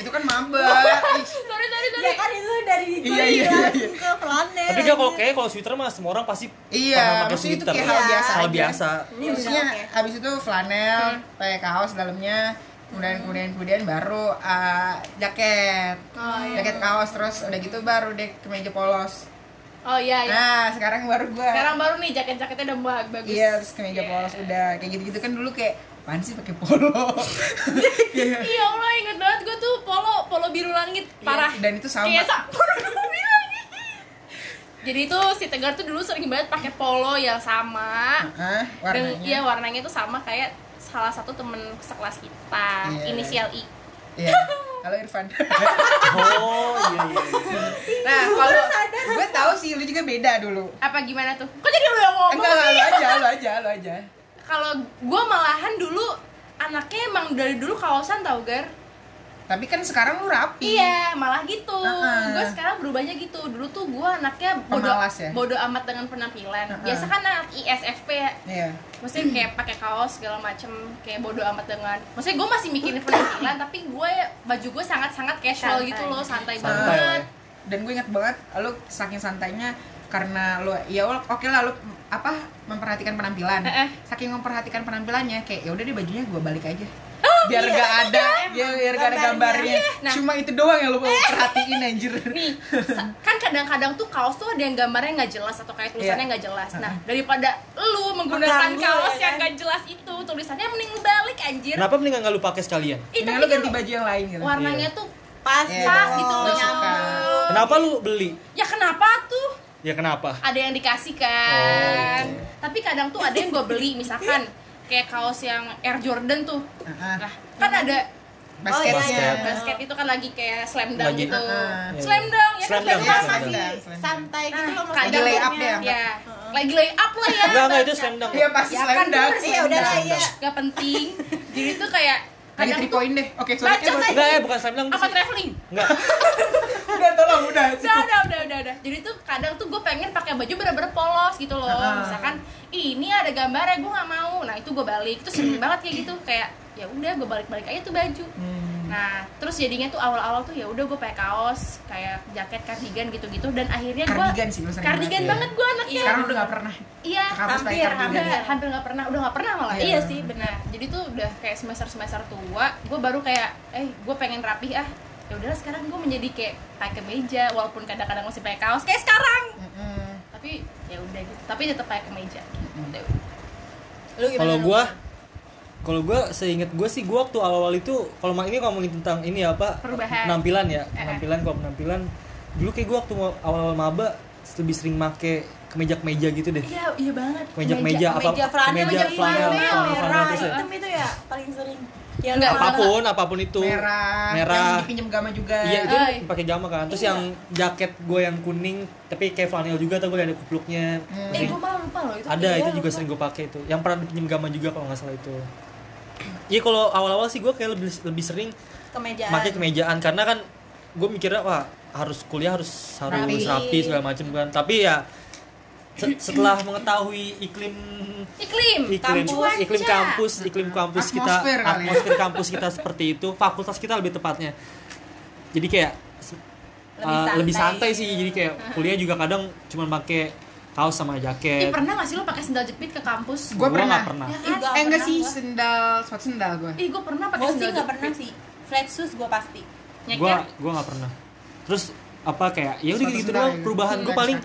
S2: itu kan maba Ih,
S1: Uh, sorry sorry sorry
S4: ya kan itu dari
S2: Iya, iya,
S4: kuliah
S2: iya, iya.
S4: ke flanel
S3: tapi gak kalau kayak kalau sweater mah semua orang pasti pernah
S2: Iya,
S3: pakai
S2: maksudnya itu
S3: sweater.
S2: kayak hal
S4: Iya.
S2: biasa.
S3: Hal
S2: aja.
S3: biasa.
S4: Iya,
S2: Maksudnya
S4: oke.
S2: abis itu flanel,
S1: Hmm.
S2: pakai kaos dalamnya, kemudian kemudian kemudian baru uh, jaket,
S4: Oh, iya.
S2: jaket kaos terus udah gitu baru deh kemeja polos.
S1: oh iya iya
S2: Nah sekarang baru gua.
S1: sekarang baru nih jaket-jaketnya udah ba- bagus
S2: Iya terus kemeja polos udah kayak gitu gitu kan dulu kayak apaan sih pakai polo. Kayak-
S1: iya Allah inget banget gue tuh polo polo biru langit parah
S2: Iya, dan itu sama.
S1: Kayak sa- polo biru langit Iya, jadi itu si Tegar tuh dulu sering banget pakai polo yang sama
S2: Heeh,
S1: dan
S2: warnanya.
S1: iya warnanya tuh sama kayak salah satu temen sekelas kita
S2: Iya.
S1: inisial I
S2: Iya. Kalau Irfan.
S3: Oh iya iya. iya.
S2: nah kalau gue tahu sih lu juga beda dulu.
S1: apa gimana tuh kok jadi lu yang ngomong
S2: Enggak lah,
S1: sih
S2: lu aja, lu aja, lu aja.
S1: kalau gue malahan dulu anaknya emang dari dulu kaosan tau gar
S2: Tapi kan sekarang lu rapi.
S1: Iya, malah gitu.
S2: Heeh.
S1: Gue sekarang berubahnya gitu. Dulu tuh gue anaknya bodoh
S2: Pemalas ya?
S1: bodoh amat dengan penampilan.
S2: Heeh.
S1: Biasa kan anak ISFP ya.
S2: Iya.
S1: Maksudnya kayak pakai kaos segala macem kayak bodoh amat dengan. Maksudnya gue masih mikirin penampilan tapi gue baju gue sangat-sangat casual
S4: Santai.
S1: gitu loh, santai,
S3: Santai,
S1: banget.
S2: Dan gue inget banget lu saking santainya karena lu ya oke lah lu apa memperhatikan penampilan.
S1: Eh, eh.
S2: Saking memperhatikan penampilannya kayak ya udah deh bajunya gue balik aja.
S1: Oh,
S2: biar gak ada, ya, biar gak ada gambarnya.
S4: gambarnya.
S1: iya, Nah.
S2: Cuma itu doang yang lu mau perhatiin anjir.
S1: Nih, sa- kan kadang-kadang tuh kaos tuh ada yang gambarnya nggak jelas atau kayak tulisannya
S2: Iya.
S1: nggak jelas. Nah, daripada lu menggunakan
S4: Mengganggu,
S1: kaos
S4: ya
S1: yang
S4: kan?
S1: nggak jelas itu, tulisannya mending lu balik anjir.
S3: iya. Kenapa mendingan nggak lu pakai sekalian?
S1: Ih,
S2: Mendingan
S1: tapi
S2: lu
S1: kan
S2: ganti baju yang lain gitu.
S1: warnanya tuh
S4: pas
S2: Iya,
S1: pas
S2: dong.
S1: gitu
S2: Gua
S1: loh.
S2: suka.
S3: Kenapa lu beli?
S1: Ya kenapa tuh?
S3: Ya kenapa?
S1: ada yang dikasih kan
S2: gitu.
S3: Oh.
S1: tapi kadang tuh ada yang gue beli misalkan kayak kaos yang Air Jordan tuh
S2: Heeh.
S1: nah kan
S2: Iya.
S1: ada
S2: Basketnya.
S1: basket,
S3: Basket.
S1: basket itu kan lagi kayak slam dunk
S3: Lagi-
S1: gitu
S2: Ah.
S1: slam dunk ya kan slam
S3: Slam dunk, ya,
S1: dunk.
S2: slam
S4: masih
S2: Selendang.
S4: santai
S1: Nah,
S4: gitu loh
S1: kadang-
S2: Lagi lay up
S4: maksudnya.
S2: deh.
S1: ya lagi lay up lah ya
S3: Enggak enggak itu slam dunk.
S2: Iya pasti
S1: Ya
S2: slam
S1: kan,
S2: dunk.
S1: bener sih.
S4: Iya udahlah ya.
S1: gak penting jadi tuh kayak
S2: Lagi
S1: kadang
S2: three
S1: tuh
S2: point deh. Oke, sorry.
S1: Bacot
S2: Kayak-
S1: aja.
S3: Enggak, eh, bukan slam dunk.
S1: apa traveling
S3: Enggak.
S2: Udah tolong udah.
S1: udah udah udah udah udah jadi tuh kadang tuh gue pengen pakai baju bener-bener polos gitu loh
S2: Ah.
S1: misalkan "Ih, ini ada gambarnya gue nggak mau nah itu gue balik itu sering banget kayak gitu kayak ya udah gue balik-balik aja tuh baju
S2: Hmm.
S1: nah terus jadinya tuh awal-awal tuh ya udah gue pakai kaos kayak jaket kardigan gitu-gitu dan akhirnya gue
S2: Kardigan sih lu sering
S1: kardigan
S2: banget.
S1: banget gue anaknya
S2: Sekarang udah gak pernah.
S1: iya
S2: Kampus pakai
S4: hampir,
S2: kardigan.
S1: Udah, hampir nggak pernah udah nggak pernah malah
S2: Iya.
S1: iya sih benar jadi tuh udah kayak semester semester tua gue baru kayak eh gue pengen rapih ah ya udahlah sekarang gue menjadi kayak pakai kemeja walaupun kadang-kadang masih pakai kaos kayak sekarang
S2: Mm-mm.
S1: tapi ya udah gitu tapi tetap pakai kemeja
S2: Mm-hmm.
S1: Gitu.
S4: Lu gimana,
S3: Kalau
S4: Lu?
S3: gua kalau gua seinget gua sih gua waktu awal-awal itu kalau mak ini ngomongin tentang ini apa
S1: Perubahan.
S3: penampilan ya
S1: Eh.
S3: penampilan kalau penampilan dulu kayak gua waktu mau- awal-awal maba lebih sering make kemeja-kemeja gitu deh
S1: iya iya banget
S3: kemeja-kemeja apa
S4: meja flanel,
S3: kemeja
S1: meja
S3: flanel
S1: flanel,
S3: flanel flanel
S4: merah,
S3: terus ya.
S4: Iya, hitam itu ya paling sering. Ya
S1: Enggak,
S4: lu-
S3: apapun apapun itu
S2: Merah.
S3: merah
S2: Yang dipinjam gama juga.
S3: iya itu
S1: Ay.
S3: pakai jama kan terus
S4: Iya.
S3: yang jaket gue yang kuning tapi kayak flanel juga tuh gue ada kupluknya
S1: eh
S3: Terus
S1: gue malah lupa loh itu
S3: ada
S1: Iya,
S3: itu juga
S1: lupa.
S3: sering gue pakai itu yang pernah pinjam gama juga kalau nggak salah itu Iya kalau awal-awal sih gue kayak lebih lebih sering
S4: kemejaan.
S3: pakai kemejaan karena kan gue mikirnya wah harus kuliah harus harus rapi,
S2: Rapi.
S3: segala macam kan tapi ya se- setelah mengetahui iklim
S1: iklim
S3: iklim
S1: kampus
S3: iklim
S1: Cuaca.
S3: kampus iklim kampus kita
S2: Atmosfer kali ya.
S3: atmosfer kampus kita seperti itu fakultas kita lebih tepatnya jadi kayak se-
S4: Lebih
S3: uh, lebih
S4: santai.
S3: santai sih jadi kayak kuliah juga kadang cuman pakai kaos sama
S1: Ih,
S3: jaket
S1: pernah gak sih lo pakai sendal jepit ke kampus
S2: Gua
S3: Gua nggak
S2: pernah.
S3: pernah
S1: ya
S4: Ih,
S1: kan
S4: gua-
S2: Eh enggak
S4: Pernah
S2: sih
S4: gua.
S2: sendal, sepatu sendal gue.
S1: ih gue pernah pakai
S4: Gua sih
S1: sendal
S4: nggak
S1: jepit
S4: pernah sih. Flat shoes gua pasti.
S3: gua
S1: nyeker
S3: gua nggak pernah terus apa kayak ya udah
S2: Sepatu
S3: gitu
S2: sendal
S3: doang
S2: ya?
S3: perubahan gue
S2: Sendal
S3: paling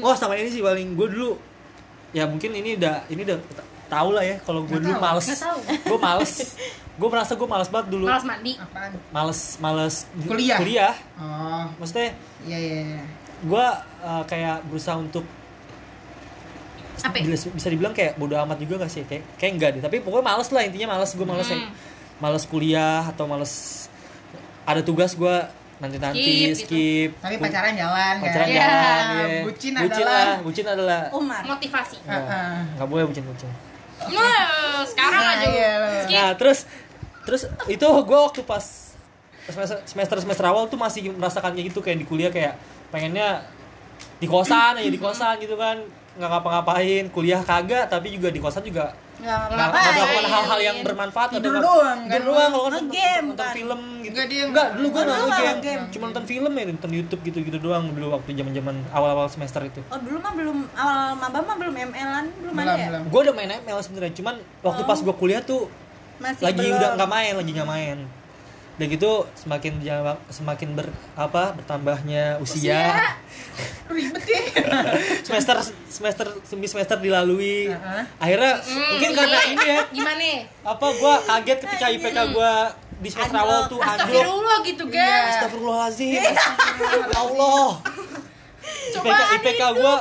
S3: oh sama ini sih paling gue dulu ya mungkin ini udah ini udah ta- tau lah ya kalau gue
S2: Nggak
S3: dulu
S2: tahu.
S3: males
S1: Nggak tahu.
S3: gue males gue merasa gue males banget dulu
S1: malas mandi
S2: Apaan?
S3: males males
S2: Kuliah? Oh,
S3: maksudnya
S2: iya iya iya.
S3: gue uh, kayak berusaha untuk
S1: apa ya?
S3: bisa bisa dibilang kayak bodo amat juga gak sih kayak kayak enggak deh tapi pokoknya males lah intinya males gue males ya
S1: Hmm.
S3: males kuliah atau males ada tugas gue nanti nanti
S1: Skip gitu.
S3: skip,
S2: Tapi
S3: Ku-
S2: pacaran jalan kan.
S3: pacaran
S1: Ya,
S3: jalan ya.
S2: bucin
S3: lah,
S2: adalah- Oh.
S3: bucin adalah
S2: Ah.
S4: Umar.
S1: motivasi
S3: nggak
S2: Heeh.
S3: nggak boleh bucin bucin
S1: Nah, sekarang
S2: Nah,
S1: aja
S2: iya.
S1: Skip.
S3: nah terus terus itu gue waktu pas semester semester semester awal tuh masih merasakan kayak gitu kayak di kuliah kayak pengennya di kosan aja di kosan gitu kan nggak ngapa-ngapain kuliah kagak tapi juga di kosan juga
S4: Enggak
S3: nggak nggak melakukan hal-hal yang bermanfaat atau
S2: Tidur
S3: nggak-
S2: doang,
S3: tidur
S2: kan?
S3: doang kalau kan
S4: Nge-game,
S3: nonton
S4: kan?
S3: film gitu
S2: Nggak, dia
S3: nggak dulu gue
S2: nggak
S3: nonton
S4: nonton
S3: game
S4: game.
S3: cuma nonton film ya nonton YouTube gitu gitu doang dulu waktu zaman zaman awal awal semester itu
S4: Oh dulu mah belum awal maba mah belum ML-an belum,
S2: Belum,
S4: ada ya?
S2: belum.
S3: gue udah main ML sebenarnya cuman waktu pas gue kuliah tuh
S4: Masih
S3: lagi
S4: belum.
S3: udah nggak main lagi nggak main udah gitu semakin jam- semakin ber apa bertambahnya usia,
S2: Ribet ya.
S3: semester semester semi semester dilalui
S2: Heeh.
S3: akhirnya mungkin karena ini ya
S1: Gimana ya?
S3: apa gue kaget ketika IPK gue di semester
S4: Anjlok.
S3: awal tuh anjlok
S1: Astagfirullah gitu,
S2: Iya.
S1: guys.
S3: Astagfirullahalazim. Allah. IPK IPK gua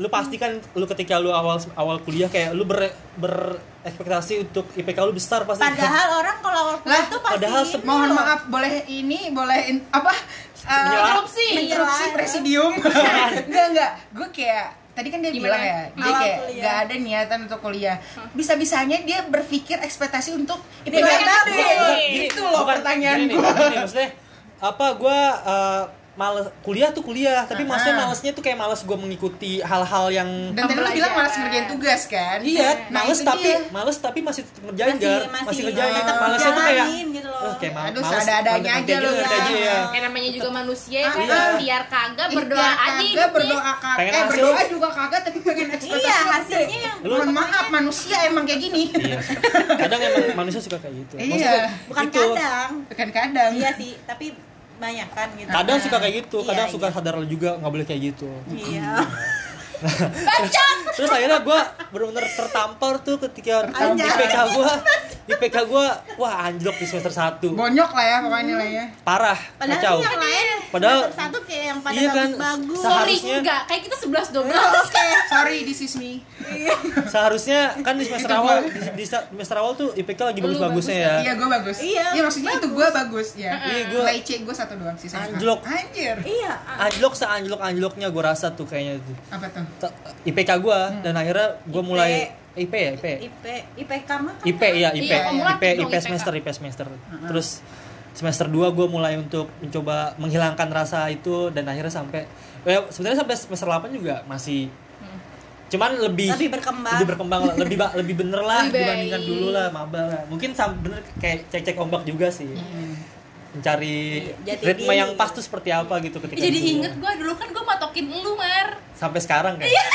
S3: lu pastikan lu ketika lu awal awal kuliah kayak lu ber berekspektasi untuk IPK lu besar pasti.
S4: Padahal orang kalau awal kuliah
S2: Lah,
S4: tuh pasti
S3: padahal
S4: ini
S3: se-
S2: Mohon
S4: loh.
S2: maaf, boleh ini, boleh in- apa? Eh,
S3: Menyela-
S1: Interupsi.
S4: Iya.
S2: interupsi
S4: Menyela-
S2: presidium. enggak enggak, gue kayak tadi kan dia
S1: Gimana?
S2: bilang ya dia
S4: Awal
S2: kayak
S4: kuliah.
S2: nggak ada niatan untuk kuliah bisa bisanya dia berpikir ekspektasi untuk IPK
S4: Dia pengen
S2: bagus.
S4: gede.
S2: gitu loh pertanyaan
S3: gini nih,
S2: gua.
S3: gini nih, maksudnya apa gua eh, males kuliah tuh kuliah tapi
S2: Ah.
S3: maksudnya malesnya tuh kayak males gua mengikuti hal-hal yang
S2: dan tadi lu bilang malas ngerjain tugas kan
S3: iya
S2: Nah,
S3: males
S2: itu
S3: tapi
S2: dia. Oh,
S3: males tapi masih tetap ngerjain Gar. masih, ngerjain
S4: tetap
S3: malesnya tuh kayak
S4: jalanin gitu loh.
S3: eh, kayak ma-
S2: Aduh,
S3: males
S2: seada-adanya
S3: konten-konten
S2: aja lu,
S3: gitu, ada
S4: ya.
S3: aja ya.
S1: Ya namanya juga manusia
S2: Iya, Ah,
S1: kan
S3: iya.
S1: biar kagak
S2: Ikhtiar
S1: berdoa aja
S2: kagak,
S1: hidupnya.
S2: berdoa kagak
S3: Pengen
S2: eh
S3: hasil.
S2: berdoa juga kagak tapi pengen ekspektasi
S4: iya
S2: yang gede.
S4: hasilnya yang
S3: Lu-
S2: mohon maaf manusia emang kayak gini
S3: Iya. kadang emang manusia suka kayak gitu Maksudnya
S2: Iya.
S4: bukan
S3: itu,
S4: kadang
S2: bukan Kan kadang
S4: iya sih tapi banyak kan gitu
S3: kadang suka kayak gitu kadang
S4: Iya,
S3: suka
S4: iya.
S3: sadar juga nggak boleh kayak gitu
S4: iya
S3: terus akhirnya gue bener-bener tertampar tuh ketika
S4: Anjay.
S3: IPK gue IPK gue wah anjlok di semester 1
S2: bonyok lah ya pokoknya nilainya
S3: parah
S4: padahal
S3: kacau
S4: sih yang lain
S3: Padahal-
S4: semester satu kayak yang pada
S3: Iya kan,
S4: bagus-bagus
S1: Sorry
S3: Seharusnya-
S1: enggak, kayak kita 11
S2: Iya.
S1: 12.
S4: oke
S2: sorry this is me
S3: seharusnya kan di semester
S2: Itu gua.
S3: awal di, di semester awal tuh IPK lagi
S1: Lu
S3: bagus-bagusnya ya
S2: iya gue bagus
S4: Iya,
S2: maksudnya itu gue bagus ya
S3: Iya, gua-
S2: nilai C gue satu doang sih sama.
S3: Anjlok.
S2: anjir
S4: iya ah.
S3: anjlok seanjlok anjloknya gue rasa tuh kayaknya tuh
S2: apa tuh
S3: T- IPK gue
S4: Hmm.
S3: dan akhirnya gue
S4: IP.
S3: mulai IP ya IP
S4: IP IPK mah kan
S3: IP ya IP
S1: Iya,
S3: IP
S1: kumulatif dong,
S3: IP
S1: IPK.
S3: semester IP semester terus semester 2 gue mulai untuk mencoba menghilangkan rasa itu dan akhirnya sampai eh, sebenarnya sampai semester 8 juga masih
S1: Mm.
S3: cuman lebih
S4: Lebih berkembang.
S3: lebih berkembang lah, lebih ba- lebih bener lah
S1: Lebih baik.
S3: dibandingkan dulu lah maba lah mungkin sam- bener kayak cek cek ombak juga sih
S1: Mm.
S3: mencari
S4: Iya, jati
S3: ritme
S4: diri.
S3: yang pas tuh seperti apa gitu ketika
S1: Jadi
S2: Iya.
S3: dulu.
S1: inget gua dulu kan gua matokin lu, Mar.
S3: sampai sekarang kan. kayak
S1: Iya.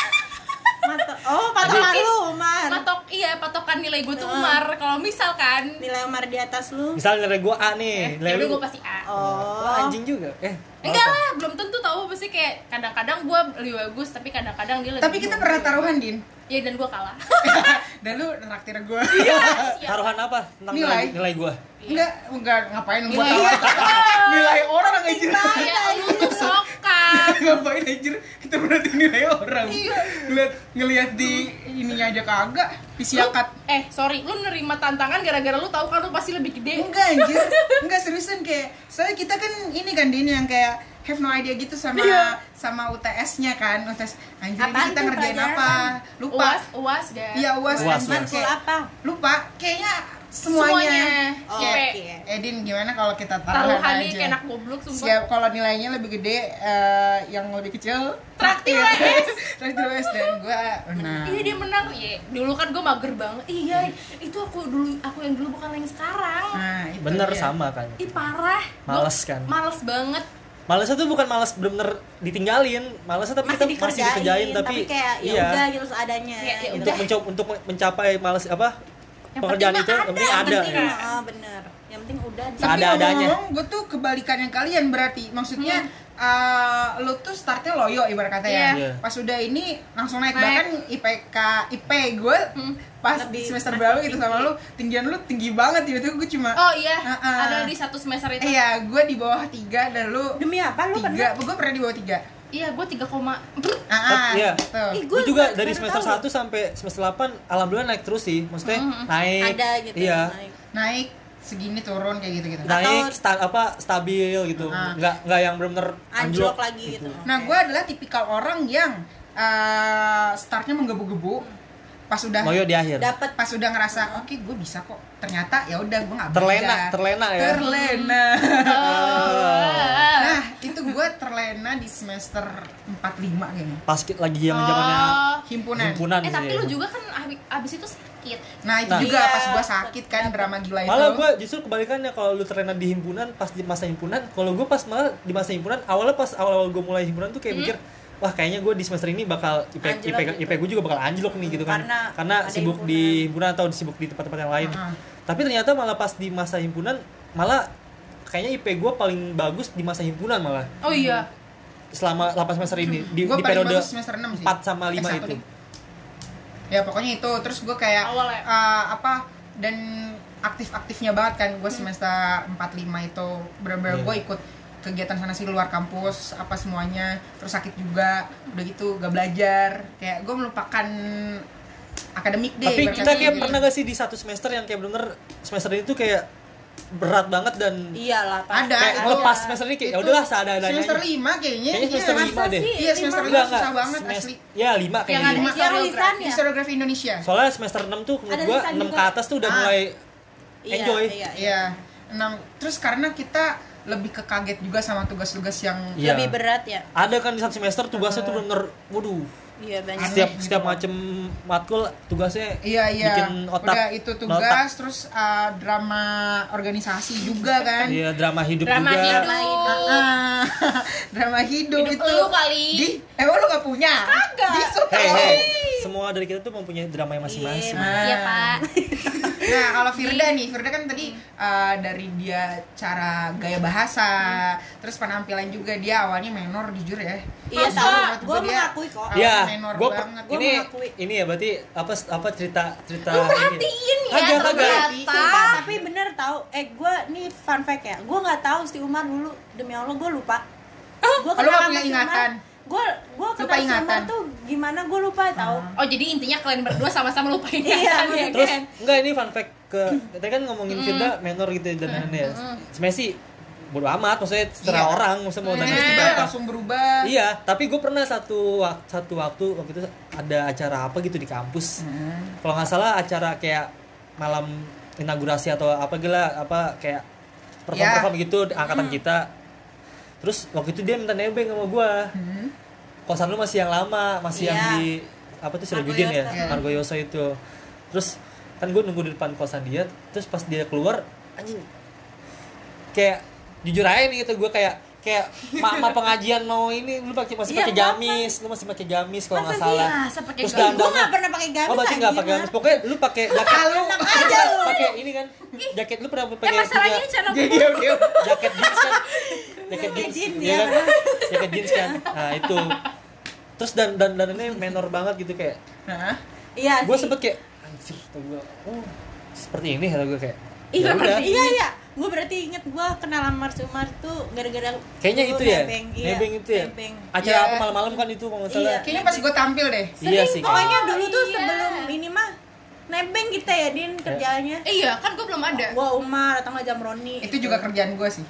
S4: Mata- oh patokan
S1: Tapi-
S4: lu
S2: Kan?
S4: Umar
S1: Patok iya, patokan nilai gua tuh
S4: Heeh.
S1: Umar. Kalau misalkan
S4: nilai Umar di atas lu
S3: misalnya nilai gue A
S2: Iya,
S3: nih nilai
S1: nilai
S3: lu-
S1: Eh, gua pasti A.
S3: Wah,
S4: oh
S3: anjing juga eh
S1: Enggak lah, belum tentu tahu pasti kayak kadang-kadang gua lebih bagus tapi kadang-kadang dia lebih
S2: tapi kita
S1: bagus.
S2: pernah taruhan din
S1: Iya dan gua kalah.
S2: dan lu traktir gue
S4: Iya.
S1: Iya.
S3: taruhan apa tentang
S2: Nilai.
S3: nilai, nilai gue
S2: enggak enggak ngapain gue
S1: Nilai.
S4: Iya.
S2: taruhan nilai orang anjir
S1: ya lu tuh sokak.
S2: ngapain anjir kita berarti nilai orang ngeliat ngeliat di ininya aja kagak di siakat
S1: Lu- eh sorry, lu nerima tantangan gara-gara lu tahu kan lu pasti lebih gede.
S2: enggak anjir enggak seriusan kayak soalnya kita kan ini kan Din yang kayak have no idea gitu sama sama UTS-nya kan UTS anjir ini
S4: Apaan
S2: kita
S4: tuh
S2: ngerjain
S4: pelajaran?
S2: apa lupa
S1: Uas, uas dan
S2: iya uas
S3: Uas,
S2: anjir
S3: uas.
S4: Lu
S2: kayak
S4: apa
S2: lupa kayaknya
S1: semuanya.
S2: semuanya,
S4: Oh,
S1: Kayak
S4: oke.
S2: Edin gimana kalau kita taruhan
S1: Taruhan nih
S2: aja
S1: kayak anak goblok sumpah.
S2: siap kalau nilainya lebih gede eh, yang lebih kecil Iya.
S1: Traktir WS.
S2: traktir US dan gue nah
S1: Iya dia menang, iya. Dulu kan gue mager banget. Iya, itu aku dulu, aku yang dulu bukan yang sekarang.
S2: nah itu
S3: bener
S2: dia.
S3: sama kan
S1: Ih parah. Gua
S3: Males kan?
S1: Hmm. Males banget.
S3: malesnya tuh bukan males bener-bener ditinggalin malesnya tapi
S4: masih
S3: kita masih
S4: dikerjain,
S3: dikerjain tapi,
S4: kayak ya
S3: iya
S4: udah gitu seadanya
S1: Kayak, ya
S4: gitu.
S3: untuk mencoba untuk men- mencapai males apa
S1: Yang
S3: pekerjaan
S1: penting
S3: itu
S1: mah
S3: yang penting
S1: ada, yang
S3: ada ya.
S1: penting
S4: Nah, ah, bener yang penting udah di-
S3: Saat-
S2: tapi
S3: Ada-adanya.
S2: ngomong-ngomong gue tuh kebalikan yang kalian berarti maksudnya eh, lu tuh startnya loyo ibarat kata
S1: Iya.
S2: ya
S3: Iya.
S2: pas udah ini langsung naik,
S1: Naik.
S2: bahkan IPK IP gue pas di
S4: Lebih-
S2: semester
S4: masih
S2: baru gitu sama lu tinggian lu tinggi banget tiba-tiba gue cuma
S1: Oh iya,
S2: Heeh.
S1: ada di satu semester itu.
S2: iya gue di bawah tiga dan lu
S4: demi apa lu
S2: tiga
S4: pernah
S2: gue pernah di bawah tiga
S1: Iya, gue 3, koma-
S2: ah ah,
S3: Iya.
S2: gitu.
S4: Ih,
S3: Gua
S4: gua
S3: juga
S4: baru-
S3: dari
S4: baru
S3: semester
S4: tahu.
S3: 1 sampai semester 8 alhamdulillah naik terus sih maksudnya naik
S4: ada gitu
S3: iya
S4: naik.
S2: naik segini turun kayak gitu gitu
S3: naik
S4: Atau-
S3: sta- apa stabil gitu
S2: Ah.
S3: nggak nggak yang bener-bener
S4: anjlok lagi gitu
S2: Nah, gue adalah tipikal orang yang eh, startnya menggebu-gebu. Pas udah
S3: moyo di akhir
S4: dapat
S2: pas udah ngerasa oke gue bisa kok. Ternyata ya udah gue nggak
S3: terlena
S2: belajar.
S3: terlena ya
S2: Terlena.
S1: Oh.
S2: nah, itu gue terlena di semester 4 5 kayaknya.
S3: pas ki- lagi zaman zamannya
S1: Oh.
S2: Himpunan.
S3: himpunan
S1: Eh
S3: sih
S1: tapi
S3: ya.
S1: lu juga kan abi- abis itu sakit.
S2: Nah, itu
S3: Nah.
S2: juga
S4: Iya.
S2: pas gue sakit kan drama gila itu.
S3: Malah gue justru kebalikannya kalau lu terlena di himpunan pas di masa himpunan, kalau gue pas malah di masa himpunan awalnya pas awal-awal gue mulai himpunan tuh kayak mikir wah kayaknya gue di semester ini bakal IP
S4: Hmm. Anjlok
S3: IP,
S4: gitu.
S3: IP gue juga bakal anjlok nih gitu kan
S4: Karena ada Hmm.
S3: sibuk di himpunan atau sibuk di tempat-tempat yang lain.
S2: Mm-mm.
S3: Tapi ternyata malah pas di masa himpunan malah kayaknya IP gue paling bagus di masa himpunan malah
S1: Oh iya.
S3: selama 8 semester ini di,
S2: Gua
S3: di
S2: paling
S3: periode
S2: bagus semester enam sih.
S3: 4 sama 5
S2: S1
S3: itu.
S2: deh. ya pokoknya itu terus gue kayak
S1: Awal ya?
S2: eh, apa dan aktif-aktifnya banget kan gue
S1: Hmm.
S2: semester 45 itu bener-bener
S3: Iya.
S2: gue ikut kegiatan sana sih luar kampus apa semuanya terus sakit juga udah gitu gak belajar kayak gue melupakan akademik deh
S3: Tapi
S2: ibarat
S3: kita
S2: kata
S3: kayak
S2: gitu.
S3: pernah gak sih di satu semester yang kayak bener semester ini tuh kayak berat banget dan
S4: iyalah pasti
S2: Ada,
S3: kayak
S2: Iya. itu-
S3: ngelepas semester ini kayak ya udahlah seadanya
S2: semester lima kayaknya.
S3: Kayaknya semester
S2: Iya,
S3: lima
S2: masa
S3: deh.
S2: sih? Iya, semester lima susah banget
S3: semes-
S2: asli. Iya,
S3: ya lima kayak
S1: Yang ada ya?
S3: lima
S2: Lima.
S4: lisannya.
S2: Historiografi Indonesia.
S3: soalnya semester 6 tuh menurut
S4: Ada
S3: gua
S4: lisan
S1: gitu
S3: 6
S4: juga.
S1: kan?
S3: ke atas tuh udah
S2: Ah.
S3: mulai
S4: Iya,
S3: enjoy
S4: iya, iya.
S2: Iya. Enam. Terus karena kita lebih ke kaget juga sama tugas-tugas yang
S3: Iya.
S4: lebih berat ya
S3: ada kan di satu semester tugasnya tuh bener waduh
S4: iya banyak
S3: setiap
S2: Ah. gitu
S3: setiap
S2: loh.
S3: macem matkul tugasnya
S2: Iya iya.
S3: bikin otak
S2: Udah itu tugas
S3: notak.
S2: terus uh, drama organisasi juga kan.
S3: iya drama hidup
S1: Drama
S3: juga
S1: hidup.
S2: Ah, drama hidup,
S1: Hidup
S2: itu.
S1: lu kali.
S2: Di, emang lu gak punya? Kagak. Di Suko.
S3: Hey, hey, semua dari kita tuh mempunyai drama yang masing-masing.
S2: Iya.
S1: Iya, Pak.
S2: Nah, kalau Firda nih, Firda kan tadi uh, dari dia cara gaya bahasa, terus penampilan juga dia awalnya menor jujur ya.
S4: iya
S2: Jujur,
S4: tahu
S2: menurut
S4: gue
S2: dia
S4: mengakui kok
S2: awalnya
S3: Ya,
S2: menor
S3: gua per-
S2: banget.
S4: Gua
S3: ini
S4: mengakui.
S3: ini ya berarti apa apa cerita cerita
S1: Lu
S3: ini.
S1: perhatiin ya
S3: Kagak, kagak.
S1: ternyata.
S2: Iya.
S4: Sumpah, tapi bener tahu eh gue nih fun fact ya gue nggak tahu si Umar dulu demi Allah gue lupa gue
S2: Oh, lu nggak punya ingatan?
S4: gue gue
S2: Lupa
S4: kenal si Umar
S2: ingatan. Ah.
S4: tuh gimana gue lupa tahu
S1: Oh, jadi intinya kalian berdua sama-sama lupain
S4: Iya,
S1: ingatan, ya
S3: Terus
S1: kan?
S3: enggak ini fun fact ke tadi kan ngomongin Firda menor gitu dan lain-lain ya. Sebenarnya sih bodo amat maksudnya terserah
S2: Iya.
S3: orang maksudnya mau nangis
S2: Nah,
S3: berapa.
S2: langsung berubah.
S3: Iya, tapi gue pernah satu wak- satu waktu waktu itu ada acara apa gitu di kampus.
S4: Mm-hmm.
S3: Kalau nggak salah acara kayak malam inaugurasi atau apa gila apa kayak perform perform
S4: Iya.
S3: gitu di angkatan
S4: Mm-hmm.
S3: kita. Terus waktu itu dia minta nebeng sama gue. Kosan lu masih yang lama, masih yang
S4: Mm-hmm. Iya.
S3: di apa tuh Sirajudin ya,
S4: Margoyoso. Iya.
S3: Margoyoso itu. Terus kan gue nunggu di depan kosan dia, terus pas dia keluar, anjing kayak jujur aja nih gitu gue kayak kayak mama pengajian mau ini lu pakai masih
S4: Iya,
S3: pakai gamis lu masih pakai gamis kalau nggak
S4: Masa
S3: salah
S1: Nah, seperti
S3: terus
S1: gua.
S3: dan-
S4: gue nggak pernah pakai gamis
S3: oh berarti nggak
S4: anjir,
S3: pakai gamis
S4: Mar.
S3: pokoknya lu pakai jaket
S2: Kalau
S4: aja lu
S3: pakai ini kan jaket lu pernah
S1: Eh,
S3: pakai
S1: masalahnya ini
S3: juga
S1: channel
S2: jadi dia
S3: iya.
S2: dia
S3: jaket jeans kan jaket
S4: Pakai
S3: jeans
S4: jeans,
S3: iya
S4: ya.
S3: kan jaket jeans kan nah itu terus dan dan dan ini menor banget gitu kayak
S2: Nah,
S4: iya
S3: gue
S4: sih.
S3: sempet kayak anjir kata gua, oh seperti ini kata gue kayak
S4: iya
S3: ya udah
S4: iya iya gue berarti inget gue kenal sama si Umar tuh gara-gara
S3: kayaknya
S4: lu
S3: itu ya
S4: nebeng, iya,
S3: nebeng itu ya
S4: nebeng.
S3: acara
S2: Iya.
S3: apa malam-malam kan itu kalau nggak salah
S4: Iya.
S2: kayaknya pas gue tampil deh.
S3: Iya sih. kayaknya.
S4: pokoknya dulu tuh
S1: iya.
S4: sebelum ini mah nebeng kita ya din kerjaannya
S1: Iya, kan gue belum ada.
S4: Wah Umar datang aja jam Roni
S2: Eh. Itu juga kerjaan gue sih.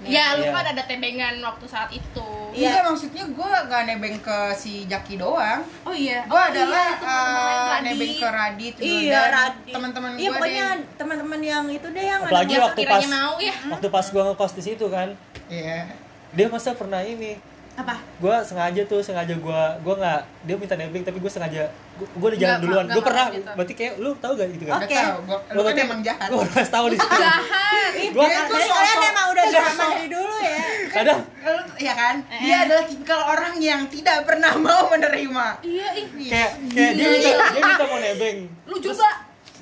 S1: Ya, lu
S3: Iya.
S1: kan ada tembengan waktu saat itu.
S4: Iya.
S2: Iya, maksudnya gue gak nebeng ke si Jaki doang.
S1: Oh iya. Oh,
S2: Gue
S1: iya,
S2: adalah
S1: itu temen-temen
S2: eh,
S1: Radit.
S2: nebeng ke Radit
S4: iya
S2: dan
S4: Radit
S2: teman-teman
S4: iya
S2: gue
S4: pokoknya
S2: deh.
S4: teman-teman yang itu deh yang
S3: Apalagi
S1: Yang
S4: anak-
S3: waktu
S1: sekiranya
S3: pas-
S1: mau ya.
S3: waktu pas gua ngekos di situ kan
S2: Iya.
S3: dia masa pernah ini
S1: Apa?
S3: gua sengaja tuh sengaja gua gua nggak dia minta nebeng tapi gua sengaja gua, gua udah jalan
S1: Nggak,
S3: duluan
S1: nggak
S3: gua pernah
S1: mau gitu.
S3: berarti kayak lu tau gak gitu kan
S2: Gak
S4: Oke.
S2: tau, gua- lu kan
S3: berarti-
S2: emang jahat. Iya.
S3: gua harus tahu di situ
S1: Jahat.
S3: gua
S2: Dia tuh
S4: Jadi kalian
S2: sosok-
S4: emang udah drama
S2: sosok-
S4: dari dulu ya
S3: kadang
S2: Lu- Iya kan? Dia adalah tipikal orang yang tidak pernah mau menerima.
S1: Iya, ih.
S3: kayak kayak dia minta dia minta mau nebeng
S1: Lu juga.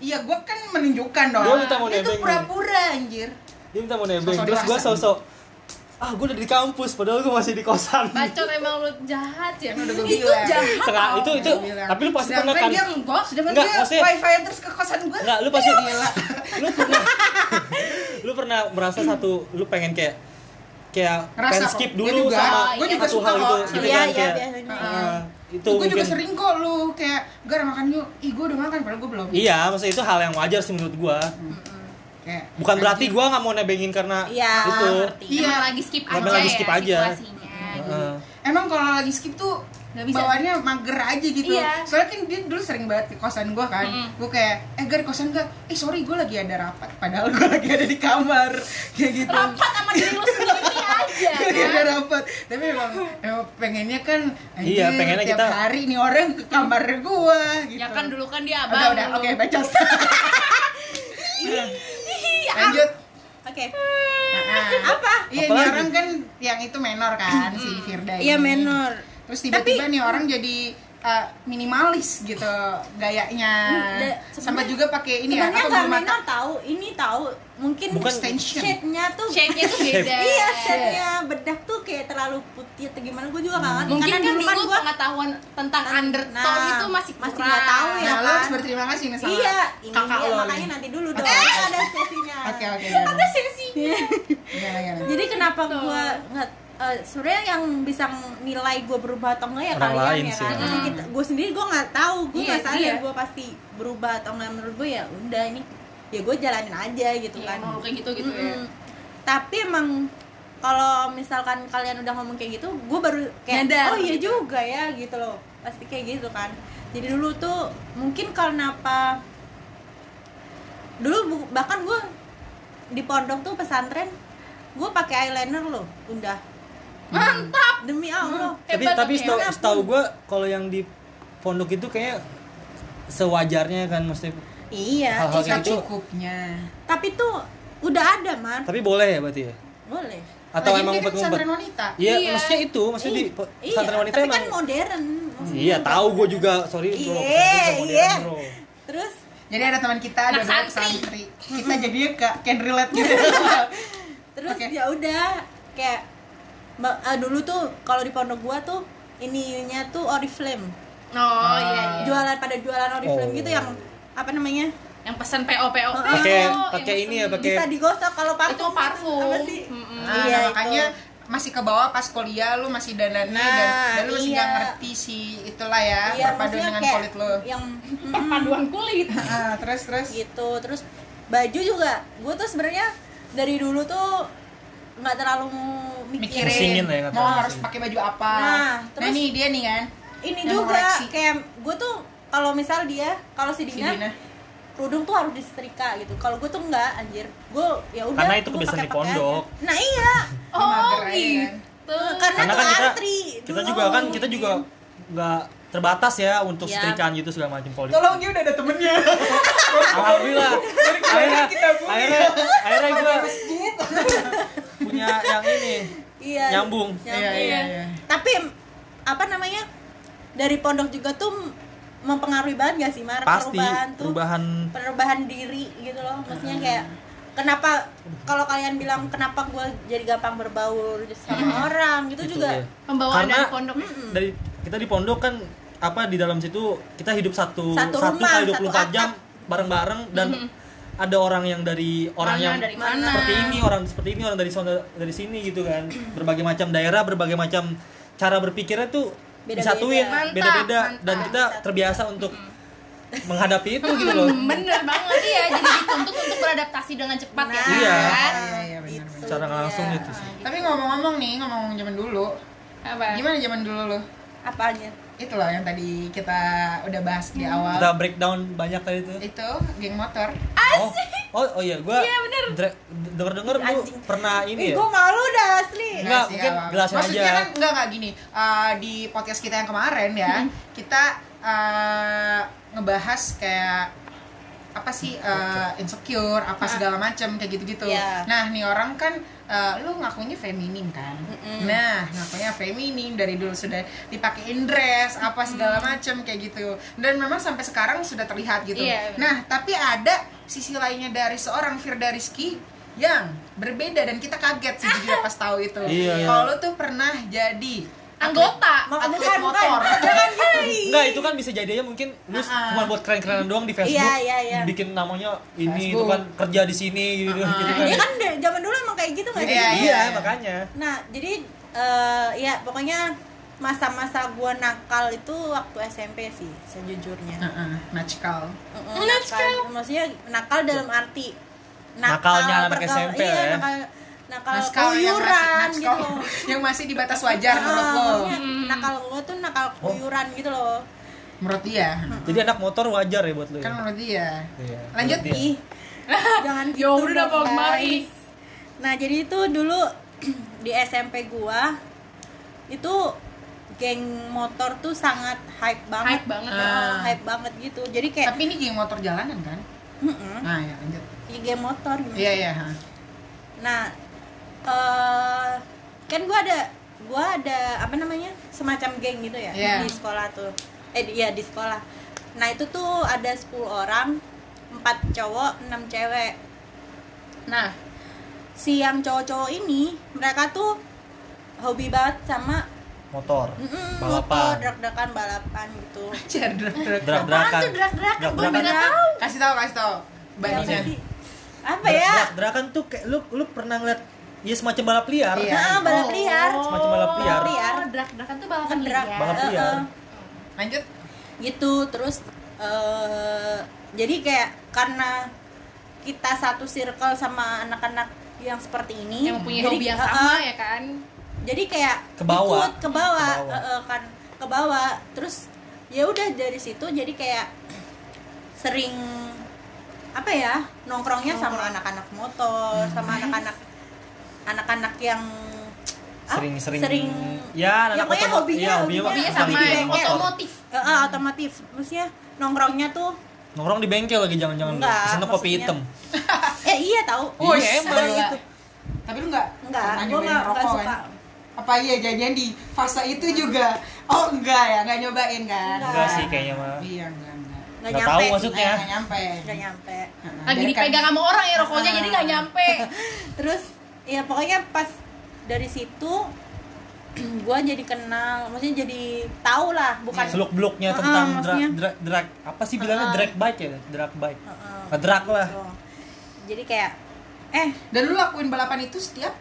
S2: Iya, gue kan menunjukkan dong.
S3: Gua minta mau
S2: Dia tuh
S3: nebeng.
S2: pura-pura anjir.
S3: dia minta mau nebeng
S2: Sosok
S3: terus gua
S2: dewasa.
S3: sosok ah gua udah di kampus padahal gua masih di kosan
S1: Bacot emang lu jahat ya.
S2: Kan udah gua
S1: Itu
S2: bilang.
S1: jahat.
S3: Sengaja itu itu
S2: Gua bilang.
S3: tapi lu pasti
S2: Sedangkan
S3: pernah kan
S2: dia
S1: Enggak.
S2: Sedangkan
S3: Nggak,
S2: dia
S3: maksudnya-
S2: wifi terus ke kosan gue.
S3: Enggak, lu pasti
S2: Gila.
S3: lu pernah lu pernah merasa satu lu pengen kayak kayak
S2: Ngerasa
S3: pengen
S2: kok.
S3: skip
S2: Gua
S3: dulu
S2: juga.
S3: sama
S2: Gua juga
S3: satu
S2: suka
S3: hal
S2: kok.
S3: itu gitu kan
S4: Iya, iya,
S3: kayak
S4: biasanya.
S3: eh, itu
S2: gue juga
S3: mungkin
S2: sering kok lu kayak gara makan yuk ih gue udah makan padahal gue belum
S3: iya maksudnya itu hal yang wajar sih menurut gua
S2: kayak
S3: bukan berarti gua nggak mau nebengin karena
S4: Iya,
S3: itu
S4: ngerti.
S1: Iya,
S2: Iya.
S1: lagi skip aja.
S3: Emang lagi skip
S1: ya,
S3: aja.
S1: situasinya.
S3: Heeh.
S2: emang kalau lagi skip tuh
S1: Nggak bisa.
S2: bawaannya mager aja gitu
S1: Iya.
S2: soalnya kan dia dulu sering banget ke kosan gue kan gue kayak eh gar kosan gak eh sorry gue lagi ada rapat padahal gue lagi ada di kamar kayak gitu
S1: Rapat ya, kan? sama diri lu sendiri aja.
S2: Gua lagi ada rapat tapi emang, emang pengennya kan
S3: Iya,
S2: anjir,
S3: pengennya
S2: tiap
S3: kita-
S2: hari nih orang ke kamar gue gitu
S1: Ya kan dulu kan dia
S2: udah
S1: abang.
S2: udah
S1: lu.
S2: oke baca
S1: ah.
S2: lanjut
S4: oke
S2: Ah.
S4: apa
S2: Iya, ini
S3: Apalagi?
S2: orang kan yang itu menor kan si Firda ini.
S4: iya menor
S2: Terus tiba-tiba nih orang jadi uh, minimalis gitu gayanya.
S4: Hmm, Da-
S2: Sama
S4: sebenarnya-
S2: juga pakai ini ya,
S4: sebenarnya
S2: apa
S4: nggak
S2: bulu mata.
S4: menor tahu ini tahu mungkin
S3: Bukan
S2: extension.
S4: shade-nya tuh
S1: Shape-nya tuh beda.
S4: iya shade-nya bedak tuh kayak terlalu putih atau gimana gue juga nggak ngerti
S1: Mungkin
S4: karena
S1: kan dulu
S4: kan gua
S1: pengetahuan tentang
S4: Nah,
S1: undertone itu masih kurang.
S4: masih nggak tahu
S2: Nah,
S4: ya.
S2: lo
S4: kan?
S2: harus berterima kasih nih sama.
S4: iya ini
S2: kakak
S4: dia,
S2: lo
S4: makanya
S2: nih.
S4: nanti dulu dong
S2: Oke.
S4: ada sesinya
S2: Oke, oke. Iya, gimana?
S1: Ada sensinya.
S2: Gimana, gimana?
S4: jadi kenapa
S1: Betul.
S4: gue nggak eh, sebenarnya yang bisa nilai gue berubah atau enggak ya
S3: Orang
S4: kalian
S3: lain
S4: ya
S3: sih, Hmm.
S4: kan
S3: orang
S4: Maksudnya
S1: lain.
S4: kita- gue sendiri gue nggak tahu gue
S1: Iya,
S4: nggak sadar
S1: iya.
S4: gue pasti berubah atau enggak menurut gue ya udah ini ya gue jalanin aja gitu
S1: Iya,
S4: kan
S1: emang lu kayak gitu gitu ya.
S4: Mm-mm. tapi emang kalau misalkan kalian udah ngomong kayak gitu gue baru kayak
S1: Nyadar.
S4: oh iya juga ya gitu loh pasti kayak gitu kan jadi dulu tuh mungkin kenapa dulu bu- bahkan gue di pondok tuh pesantren gue pakai eyeliner loh udah
S1: Mantap.
S4: demi allah
S3: tapi
S1: Hebat
S3: tapi
S1: dong ya.
S3: setahu setahu gue kalau yang di pondok itu kayak sewajarnya kan mesti
S4: iya
S3: Hal-hal
S4: iya.
S3: kayak gitu.
S2: secukupnya
S4: tapi tuh udah ada man
S3: tapi boleh ya berarti ya
S4: boleh
S3: atau
S2: Lagian
S3: emang
S2: dia kan
S3: ngumpet ngumpet
S2: pesantren wanita
S3: iya
S1: Iya.
S3: maksudnya itu maksudnya di
S4: Ih,
S3: pe-
S4: iya,
S3: pesantren wanita
S4: tapi
S3: emang
S4: kan modern maksudnya
S3: iya
S4: udah
S3: tahu gue
S4: modern.
S3: juga sorry bro,
S4: Iya,
S3: pesantren gua modern,
S4: iya.
S3: bro.
S4: terus
S2: jadi ada teman kita
S1: Anak
S2: ada santri.
S1: santri.
S2: santri kita jadinya kak can relate gitu
S4: Iya, terus
S2: Oke.
S4: ya udah kayak ma- ah, dulu tuh kalau di pondok gua tuh ininya tuh oriflame
S1: Oh
S3: Ah.
S1: iya iya.
S4: jualan pada jualan oriflame
S3: Oh.
S4: gitu yang apa namanya
S1: Yang pesan PO PO.
S4: Pakai-
S1: yang
S3: pakai
S1: pesen-
S3: ini ya, pakai-
S4: bisa digosok kalau parfum
S1: itu parfum.
S4: apa sih
S1: Mm-mm.
S2: nah,
S4: Iya,
S2: makanya masih ke bawah pas kuliah lu masih dandan
S4: Nah,
S2: dan, dan lu masih
S4: iya.
S2: nggak ngerti si itulah ya
S4: Iya,
S2: berpadu
S4: maksudnya
S2: dengan
S4: kayak iya.
S2: kulit lu
S4: yang Eh, hmm,
S1: perpaduan kulit.
S2: Ah, terus terus
S4: gitu terus baju juga gue tuh sebenarnya dari dulu tuh nggak terlalu mikirin,
S2: mikirin
S3: Pusingin lah ya, kata
S2: mau
S3: orang
S2: harus
S3: sih.
S2: pakai baju apa
S4: Nah,
S2: nah
S4: terus-
S2: ini dia nih kan
S4: ini
S2: Yang
S4: juga
S2: koleksi.
S4: kayak gue tuh kalau misal dia kalau si
S2: si
S4: Dina,
S2: Dina.
S4: kerudung tuh harus disetrika gitu kalau gue tuh enggak anjir gue ya udah
S3: Karena itu
S4: gua
S3: kebiasaan di
S4: pakai-pakai
S3: pondok.
S4: aja. nah iya
S1: Oh
S2: mager aja kan.
S1: gitu.
S4: karena,
S3: karena
S4: tuh
S3: kan kita
S4: antri
S3: kita
S4: dulu.
S3: juga kan kita juga nggak terbatas ya untuk
S4: Iya.
S3: setrikaan gitu segala macam politik
S2: tolong dia udah ada temennya
S3: alhamdulillah akhirnya
S2: kita punya.
S3: akhirnya akhirnya gue punya yang ini
S4: iya
S3: nyambung
S2: iya iya iya
S4: tapi apa namanya dari pondok juga tuh mempengaruhi banget gak sih Mar?
S3: pasti
S4: perubahan tuh
S3: perubahan
S4: perubahan diri gitu loh maksudnya
S2: Hmm.
S4: kayak kenapa kalau kalian bilang kenapa gue jadi gampang berbaur
S2: Hmm.
S4: sama orang gitu,
S3: Gitu,
S4: juga
S3: iya.
S1: Pembawaan dari
S3: Karena-
S1: pondok.
S3: dari kita di pondok kan apa di dalam situ kita hidup satu
S4: Satu rumah,
S3: kali
S4: satu
S3: 24 jam
S4: atap.
S3: bareng-bareng dan ada orang yang dari orang
S1: Mana,
S3: yang
S1: dari mana.
S3: seperti ini orang seperti ini orang dari sana dari sini gitu kan berbagai macam daerah berbagai macam cara berpikirnya tuh
S4: Beda-beda.
S3: disatuin
S1: Mantap,
S3: beda-beda dan
S1: mantap.
S3: kita terbiasa untuk menghadapi itu gitu loh
S1: Hmm, bener banget iya jadi dituntut untuk beradaptasi dengan cepat ya
S4: Nah,
S3: Iya.
S1: kan?
S2: iya iya benar
S4: Itu
S3: secara nggak langsung
S4: dia.
S3: itu sih
S2: tapi ngomong-ngomong nih ngomong-ngomong zaman dulu
S1: Apa?
S2: gimana zaman dulu lo
S4: apanya
S2: itulah yang tadi kita udah bahas di awal
S3: kita breakdown banyak tadi itu
S2: itu geng motor
S3: oh oh oh iya gue denger denger lu
S4: Anjing.
S3: pernah ini
S4: Ih,
S3: ya
S4: gue malu dah asli.
S3: Enggak, mungkin
S2: awal.
S3: jelasin
S2: Iya Maksudnya
S3: aja.
S2: kan enggak enggak gini. eh, di podcast kita yang kemarin ya, kita eh, ngebahas kayak apa sih eh, insecure, apa
S1: Ah.
S2: segala macam kayak gitu-gitu.
S4: Iya.
S2: Nah, nih orang kan eh, lu ngakunya feminim kan. Nah, ngakunya feminim dari dulu sudah dipakein dress apa segala macam kayak gitu. Dan memang sampai sekarang sudah terlihat gitu.
S1: Iya, benar.
S2: Nah, tapi ada sisi lainnya dari seorang Firda Rizky yang berbeda dan kita kaget sih jujur pas tahu itu.
S3: Iya.
S2: Kalau lu tuh pernah jadi
S1: Anggota. Oh,
S4: Mak-
S2: atlet
S4: eh, bukan, bukan.
S2: motor.
S4: Jangan gitu. Ih.
S3: Enggak, itu kan bisa jadi aja mungkin lu
S2: Ah-ah.
S3: cuma buat keren-kerenan doang di Facebook.
S4: Iya, iya, iya.
S3: Bikin namanya ini itu
S2: Facebook.
S3: kan kerja di sini gitu, gitu kan.
S4: Dia kan dari zaman dulu emang kayak gitu nggak sih?
S2: Iya,
S3: Iya,
S2: iya.
S3: makanya.
S4: Nah, jadi eh, ya pokoknya masa-masa gua nakal itu waktu SMP sih sejujurnya.
S2: Heeh, Najkal.
S4: Mm-mm,
S2: Nah,
S4: nakal. Maksudnya nakal dalam arti
S3: Nakalnya anak
S4: pergaul-
S3: SMP
S4: iya,
S3: lah ya.
S4: nakal nakal
S2: Naskal yang masih
S4: keluyuran gitu.
S2: naskal Hmm. yang masih di batas wajar
S4: Ah,
S2: menurut lo.
S4: maksudnya nakal gua tuh nakal keluyuran gitu loh.
S2: Menurut dia.
S3: Jadi anak motor wajar ya buat lu. ya?
S2: Kan menurut dia.
S3: Iya,
S2: Lanjut.
S3: menurut dia.
S4: Ih, jangan gitu
S1: Ya udah
S4: dong,
S1: Bang
S4: guys.
S1: Mari.
S4: Nah jadi itu dulu di SMP gua itu geng motor tuh sangat hype banget,
S1: Hype banget
S4: Ah,
S1: ya.
S4: hype banget gitu. Jadi kayak
S2: Tapi ini geng motor jalanan kan?
S4: mm-mm,
S2: Nah, ya lanjut.
S4: ya geng motor. Gitu.
S2: Iya, iya, ha.
S4: Nah eh kan gua ada gua ada apa namanya semacam geng gitu ya
S2: Iya.
S4: di sekolah tuh. Eh di- iya di sekolah. Nah itu tuh ada 10 orang, empat cowok, 6 cewek. Nah, si yang cowok-cowok ini mereka tuh hobi banget sama
S3: Motor.
S4: mm, motor,
S3: Balapan.
S4: drag-dragan, balapan gitu.
S2: Cer, drek, drek.
S3: Drak-drakan.
S1: Apaan tuh drak-drakan? Gua
S3: Drak-drakan. ya?
S1: juga tahu.
S2: Kasih tahu, kasih tahu. Mbak
S4: Iya, Apa
S2: Dina.
S4: sih? Apa ya?
S3: Drak-drakan tuh kayak lu lu pernah ngeliat ya semacam balap liar.
S2: Iya.
S4: Nah, balap liar.
S3: Semacam balap liar.
S4: liar.
S1: Oh, drak-drakan tuh balapan
S4: Ngedrak.
S1: liar.
S3: Balap
S4: Eh,
S3: liar.
S4: eh.
S2: Lanjut.
S4: gitu terus eh jadi kayak karena kita satu circle sama anak-anak yang seperti ini
S1: yang mempunyai
S4: Jadi,
S1: hobi yang
S4: eh,
S1: sama
S4: eh,
S1: ya kan
S3: Iya,
S4: jadi kayak
S3: Ke bawah.
S4: ikut ke bawah,
S3: Ke bawah.
S4: eh, eh, kan ke bawah terus ya udah dari situ jadi kayak sering apa ya nongkrongnya sama anak-anak motor
S3: Hmm.
S4: sama anak-anak anak-anak yang ah,
S3: sering-sering
S4: sering
S3: ya
S4: Ya,
S3: anak
S4: pokoknya
S3: motor-
S4: hobinya-
S3: ya, hobinya,
S1: hobinya
S4: Hobinya
S3: hobi
S1: sama
S3: di
S1: yang
S3: bengkel.
S1: otomotif
S4: eh, eh, otomotif maksudnya nongkrongnya tuh
S3: nongkrong di bengkel lagi jangan-jangan
S4: Enggak,
S3: sana kopi
S4: maksudnya-
S3: hitam
S4: eh iya tahu
S2: Oh,
S3: Iya,
S2: yes.
S3: emang
S2: Gila.
S3: itu
S2: Tapi lu nggak
S4: Enggak,
S2: pernah
S4: gua
S2: nyobain
S4: nggak- nggak
S2: rokok
S4: suka.
S2: kan? Apa iya jangan di fase itu juga? Oh enggak ya, nggak nyobain kan?
S4: Enggak.
S3: enggak sih kayaknya mah ya.
S2: Iya enggak enggak.
S4: nggak
S3: Nggak
S4: nyampe
S3: tahu maksudnya.
S2: Nggak nyampe.
S4: nggak nyampe
S2: Heeh,
S4: kan?
S1: lagi
S2: Nah, biarkan-
S1: dipegang sama orang ya rokoknya jadi
S4: Nah.
S1: nggak nyampe
S4: terus ya pokoknya pas dari situ gua jadi kenal maksudnya jadi tahu lah bukan
S3: Iya. seluk-beluknya
S4: Iya. Heeh,
S3: tentang drag,
S4: maksudnya.
S3: drag, drag apa sih bilangnya
S4: Heeh.
S3: drag bike ya drag bike
S4: Heeh.
S3: Ngedrak lah.
S4: Gitu. jadi kayak eh
S2: Dan lu lakuin balapan itu setiap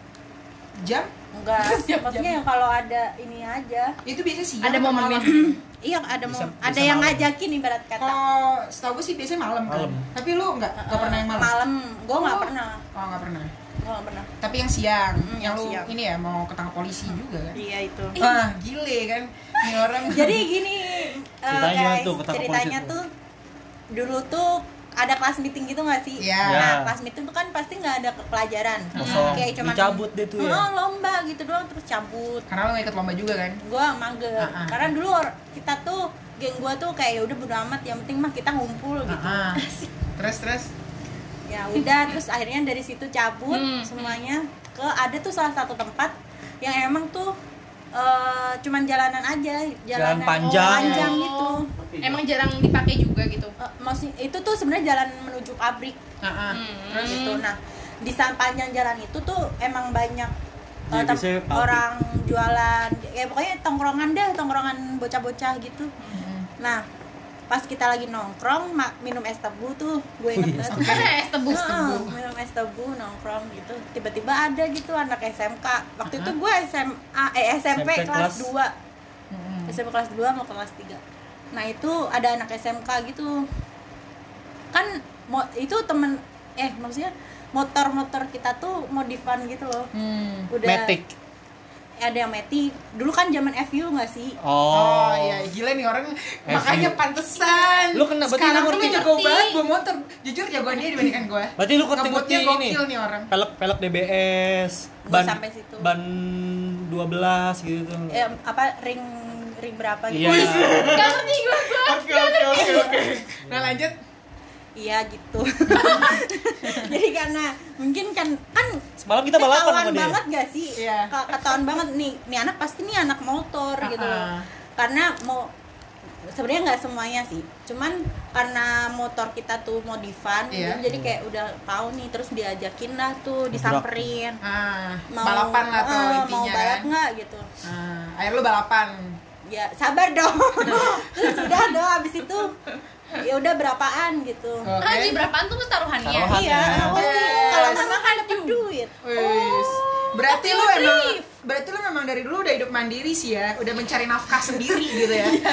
S2: jam?
S4: enggak maksudnya ya kalau ada ini aja
S2: Itu biasanya siang.
S1: ada
S2: atau
S1: momennya
S2: malam?
S4: iya ada mau
S3: Bisa-
S4: ada
S3: bisa
S4: yang
S3: malam.
S4: ngajakin ibarat kata
S2: Kalau setahu gue sih biasanya malam kan.
S3: Malam.
S2: Tapi lu nggak nggak pernah yang malam.
S4: Eh, malam gua nggak
S2: Oh.
S4: pernah
S2: Oh nggak pernah.
S4: gua nggak pernah
S2: Tapi yang siang,
S4: Mm,
S2: yang
S4: yang
S2: lu
S4: siang.
S2: ini ya mau ketangkap polisi juga kan?
S4: iya itu
S2: Wah gile kan, ini orang.
S4: jadi gini eh,
S3: Ceritanya gimana
S4: guys
S3: tuh, ketangkap polisi
S4: ceritanya
S3: tuh?
S4: tuh dulu tuh ada kelas meeting gitu nggak sih
S2: Iya.
S4: nah
S3: Iya.
S4: kelas meeting tuh kan pasti nggak ada pelajaran
S3: kosong
S4: kayak cuman
S3: dicabut deh tuh
S4: "Oh,
S3: ya
S4: lomba gitu doang terus cabut
S2: Karena lu nggak ikut lomba juga kan?
S4: gua mager
S2: Ah, ah.
S4: karena dulu or- kita tuh geng gua tuh kayak "Ya udah bodo amat yang penting mah kita ngumpul gitu
S2: Heeh. Ah, Terus terus.
S4: ya udah terus akhirnya dari situ cabut
S1: Hmm.
S4: semuanya ke ada tuh salah satu tempat yang emang tuh eh, cuman jalanan aja jalanan
S3: panjang.
S4: panjang gitu
S1: Oh. emang jarang dipakai juga gitu
S4: Eh, maksudnya itu tuh sebenarnya jalan menuju pabrik
S2: Heeh.
S1: Terus
S4: gitu nah di sa- panjang jalan itu tuh emang banyak eh,
S3: Ya,
S4: tem-
S3: biasanya pabrik.
S4: orang jualan ya pokoknya tongkrongan deh tongkrongan bocah-bocah gitu
S1: Hmm.
S2: Mm.
S4: nah pas kita lagi nongkrong ma- minum es tebu tuh gue
S3: Wih,
S4: inget
S3: Iya, es
S4: banget
S1: es tebu es tebu
S4: Heeh, minum es tebu nongkrong gitu tiba-tiba ada gitu anak SMK waktu itu gue SMA eh SMP,
S3: SMP
S4: kelas
S3: kelas-
S4: 2
S2: Mm-mm.
S4: SMP kelas 2 mau kelas 3 nah itu ada anak SMK gitu kan mo- itu temen eh maksudnya motor-motor kita tuh modifan gitu loh
S2: Hmm.
S4: udah
S3: metik
S4: ada yang metik dulu kan zaman FU nggak sih
S2: Oh,
S3: oh,
S2: iya, gila nih orang
S3: Eh,
S2: makanya
S3: sih.
S2: pantesan.
S3: Lu kena, berarti
S2: Sekarang tuh
S3: lu
S2: lu
S3: ngerti.
S2: jago banget gua motor. Jujur jagoan dia dibandingkan gua.
S3: berarti lu ngerti ngerti
S2: Ngebutnya
S3: ini
S2: gokil nih orang.
S3: pelek pelek DBS
S4: Gua
S3: ban
S4: sampai situ.
S3: ban 12 gitu tuh
S4: eh, apa ring ring berapa gitu
S3: iya
S1: Gak ngerti gue
S2: Oke oke oke oke. Nah, lanjut.
S4: iya gitu jadi karena mungkin kan kan
S3: semalam kita balapan
S4: ketahuan
S3: sama dia
S4: banget gak sih
S2: Iya.
S4: Ke- ketahuan banget nih nih anak pasti nih anak motor gitu loh
S2: Ah, ah.
S4: karena mau sebenarnya nggak semuanya sih cuman karena motor kita tuh modifan
S2: Iya.
S4: jadi kayak udah tahu nih terus diajakin lah tuh disamperin
S2: Ah, balapan lah tuh
S4: eh, mau
S2: intinya
S4: balap
S2: kan.
S4: nggak gitu
S2: Ah, akhir lu balapan.
S4: ya sabar dong terus udah dong abis itu ya udah berapaan gitu
S2: Oke.
S1: Anjir berapaan tuh mas kan taruhannya
S3: Taruhan.
S4: iya
S3: ya.
S4: apa sih
S2: Yes.
S4: kalau mama kan dapet duit Oh,
S2: Wis. Berarti
S1: tapi
S2: lu
S1: lu
S2: emang
S1: drift.
S2: berarti lu memang dari dulu udah hidup mandiri sih ya, udah mencari nafkah sendiri gitu ya.
S4: Iya.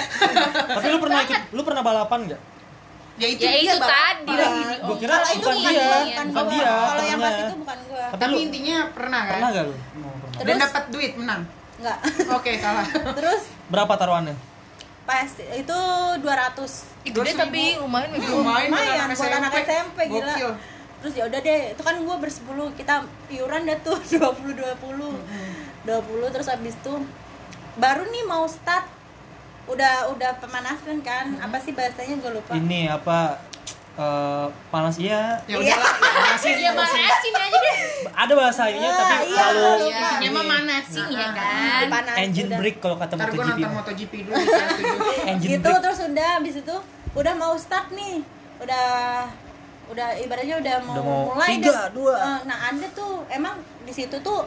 S3: tapi lu pernah ikut lu pernah balapan nggak
S4: Eh.
S2: ya itu
S1: ya
S2: dia
S1: itu
S2: balapan.
S1: tadi lagi
S4: Iya.
S1: di-
S3: Gua
S1: oh,
S3: kira
S1: kalau bukan
S3: bukan dia,
S1: dia.
S4: bukan, kan?
S3: bukan
S4: gua.
S3: dia,
S4: kalau yang
S3: temennya.
S4: pas itu bukan gua
S3: tapi
S2: Tapi
S3: lu
S2: intinya pernah kan?
S3: pernah gak lu Oh, pernah.
S2: Dan
S4: Terus-
S2: dapat duit menang.
S4: nggak
S2: Oke, salah.
S4: terus
S3: berapa taruhannya
S4: pas itu 200
S1: Ih, gede tapi lumayan
S2: Ini
S1: gitu
S2: lumayan,
S4: lumayan buat anak SMP gila
S2: Gokil.
S4: terus ya udah deh itu kan gue bersepuluh kita iuran dah tuh 20 20 20 terus abis itu baru nih mau start udah udah pemanasan kan apa sih bahasanya gue lupa
S3: ini apa eh, panas iya
S2: Ya udahlah, manasin.
S1: ya manasin aja deh
S3: ada bahasanya
S4: Ah,
S3: tapi
S4: iya,
S3: kalau
S4: iya.
S1: ya,
S3: ini,
S1: ya mah manasin ya kan
S4: Panas,
S3: engine
S4: udah.
S3: break kalau kata
S2: Ntar gue
S3: MotoGP
S2: nonton MotoGP dulu ya, di kelas tujuh.
S3: engine
S4: gitu
S3: break
S4: terus udah abis itu udah mau start nih udah udah ibaratnya udah mau,
S3: Udah mau
S4: mulai
S3: tiga,
S4: deh.
S3: dua.
S4: Eh, nah anda tuh emang di situ tuh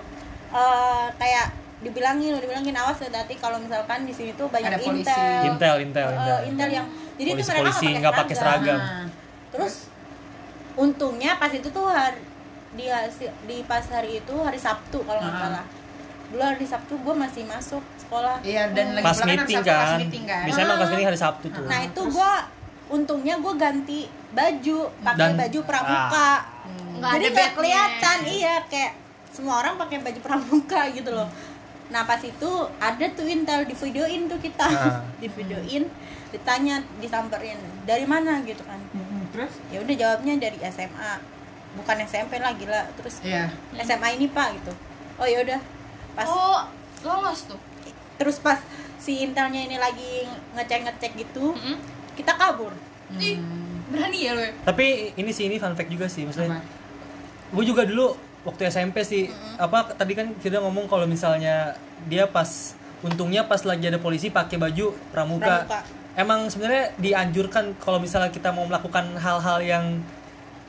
S4: eh, kayak dibilangin dibilangin awas ya tadi kalau misalkan di sini tuh banyak
S2: Ada polisi.
S3: intel
S4: intel
S3: intel
S4: Eh,
S3: intel
S4: intel yang jadi itu
S3: Polisi-
S4: mereka
S3: polisi
S4: nggak
S3: nggak
S4: pakai
S3: pakai
S4: seragam.
S3: seragam.
S2: Nah,
S4: terus untungnya pas itu tuh hari di, hasi- di pas hari itu hari Sabtu kalau nggak
S2: Ah.
S4: salah dulu hari Sabtu gue masih masuk sekolah
S2: Iya, dan lagi
S3: pas
S2: pula kan
S3: meeting
S2: harus pas
S3: kan
S2: meeting kan.
S3: biasanya emang pas meeting hari Sabtu tuh
S4: nah itu gue Nah, untungnya gue ganti baju pakai
S3: Dan- Ah.
S4: baju pramuka
S1: Nggak
S4: jadi
S1: ada
S4: nggak
S1: bednya.
S4: kelihatan iya kayak semua orang pakai baju pramuka gitu loh nah pas itu ada tuh intel di videoin tuh kita
S3: Ah.
S4: di videoin ditanya disamperin dari mana gitu kan
S2: Mm-mm, terus
S4: ya udah jawabnya dari SMA bukan SMP lah gila terus
S2: Iya.
S4: SMA ini pak gitu oh ya udah pas
S1: oh lolos tuh
S4: terus pas si intelnya ini lagi ngecek ngecek gitu
S1: Mm-mm.
S4: kita kabur
S1: Ih,
S3: Hmm.
S1: berani ya lo
S3: Tapi ini sih ini fun fact juga sih
S2: Apa?
S3: maksudnya. Gue juga dulu waktu SMP sih apa tadi kan Firda ngomong kalau misalnya dia pas untungnya pas lagi ada polisi pakai baju pramuka.
S4: Pramuka.
S3: Emang sebenarnya dianjurkan kalau misalnya kita mau melakukan hal-hal yang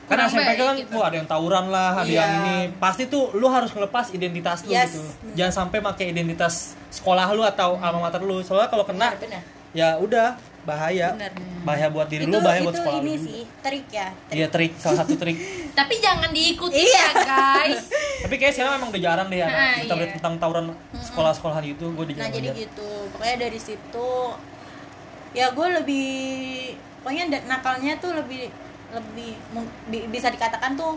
S3: karena
S1: Kurang
S3: SMP kan
S1: baik gitu.
S3: wah ada yang tawuran lah, ada
S2: Iya.
S3: yang ini. Pasti tuh lu harus ngelepas identitas lu
S4: Yes,
S3: gitu.
S4: bener.
S3: Jangan sampai pakai identitas sekolah lu atau alma mater lu. Soalnya kalau kena
S4: benar
S3: ya udah bahaya.
S4: Bener.
S3: Bahaya buat diri
S4: itu
S3: lu, bahaya buat
S4: itu
S3: sekolah
S4: ini
S3: lu. juga.
S4: sih trik ya trik.
S3: Iya trik, salah satu trik.
S1: tapi jangan diikuti
S4: Iya.
S1: ya guys
S3: Tapi kayaknya sekarang emang udah jarang deh
S1: Ah,
S3: anak kita
S1: iya.
S3: lihat tentang tawuran sekolah-sekolahan gitu, gue udah
S4: nah
S3: jarang.
S4: jadi
S3: lihat.
S4: gitu pokoknya dari situ ya gue lebih pokoknya da- nakalnya tuh lebih lebih mung- bi- bisa dikatakan tuh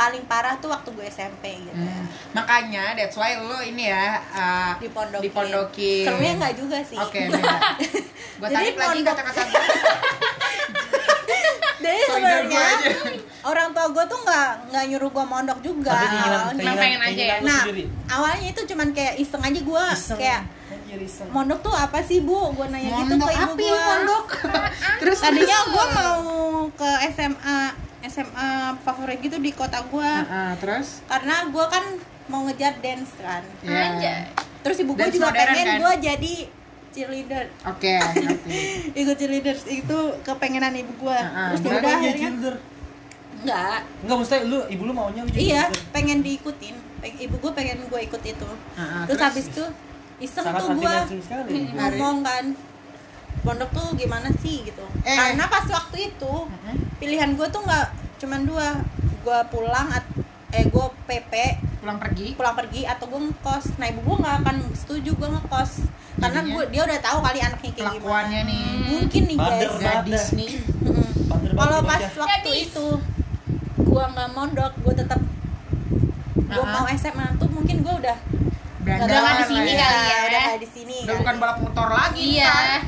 S4: paling parah tuh waktu gue SMP gitu ya.
S2: Hmm. Makanya that's why lo ini ya uh,
S3: Hmm.
S4: dipondokin
S2: dipondokin.
S4: serunya nggak juga sih
S2: Oke, beda. Gue
S4: Jadi
S2: tarik lagi
S4: pondok-
S2: kata-kata gue. Poin
S4: Jadi
S2: dari
S4: sebenarnya
S2: gua aja.
S4: orang tua gue tuh nggak nggak nyuruh gue mondok juga.
S3: Tapi keinginan,
S4: awalnya.
S3: keinginan,
S1: pengen aja
S3: keinginan
S1: ya?
S3: lu
S4: nah,
S3: sendiri.
S4: awalnya itu cuman kayak iseng aja gue
S3: Iseng.
S4: kayak
S3: Anjir, iseng.
S4: mondok tuh apa sih bu? Gue nanya gitu
S2: Mondok
S4: ke ibu
S2: apa ya,
S4: gue.
S2: mondok? Terus
S4: Tadinya gue mau ke SMA SMA favorit gitu di kota gue
S2: Heeh, terus
S4: karena gue kan mau ngejar dance kan.
S2: Iya.
S1: Anjay.
S4: Terus ibu gue
S2: Dance
S4: juga
S2: modern,
S4: pengen
S2: kan?
S4: gue jadi cheerleader
S2: Oke, ngerti.
S4: ikut cheerleaders itu kepengenan ibu gue
S2: Heeh.
S4: terus
S3: Kenapa
S4: Nah, udah ya.
S3: dia
S4: akhirnya
S3: cheerleader?
S4: enggak
S3: Enggak, maksudnya lu, ibu lu maunya lu jadi
S4: Iya,
S3: cheerleader.
S4: pengen diikutin. Peng- ibu gue pengen gue ikut itu.
S2: Heeh,
S4: terus,
S2: terus?
S4: habis itu iseng
S3: Sangat
S4: tuh gue
S3: anti-mainstream sekali.
S4: ngomong kan, pondok tuh gimana sih gitu.
S2: Eh.
S4: Karena pas waktu itu
S2: Heeh.
S4: pilihan gue tuh nggak cuman dua, gue pulang at- eh gue PP
S2: Pulang pergi.
S4: pulang pergi atau gue ngekos. Nah ibu gue nggak akan setuju gue ngekos karena
S2: Jadinya?
S4: gue dia udah tahu kali anaknya kayak gimana.
S2: Iya. Kelakuannya nih.
S4: Mungkin nih guys.
S3: Bader.
S2: Gadis nih.
S4: Mm-mm.
S3: Bander banget
S4: Kalau
S3: dia
S4: pas
S3: bocah.
S4: waktu
S1: Gadis.
S4: itu gua nggak mondok, gua tetap gua
S2: Aha.
S4: mau SMA tuh mungkin gua udah
S2: Dandanan
S1: Udah nggak di
S2: lah
S1: sini kali
S2: ya.
S1: ya.
S4: Iya, udah nggak di sini. kan.
S2: Udah
S4: kali.
S2: bukan balap motor lagi.
S1: iya
S2: kan?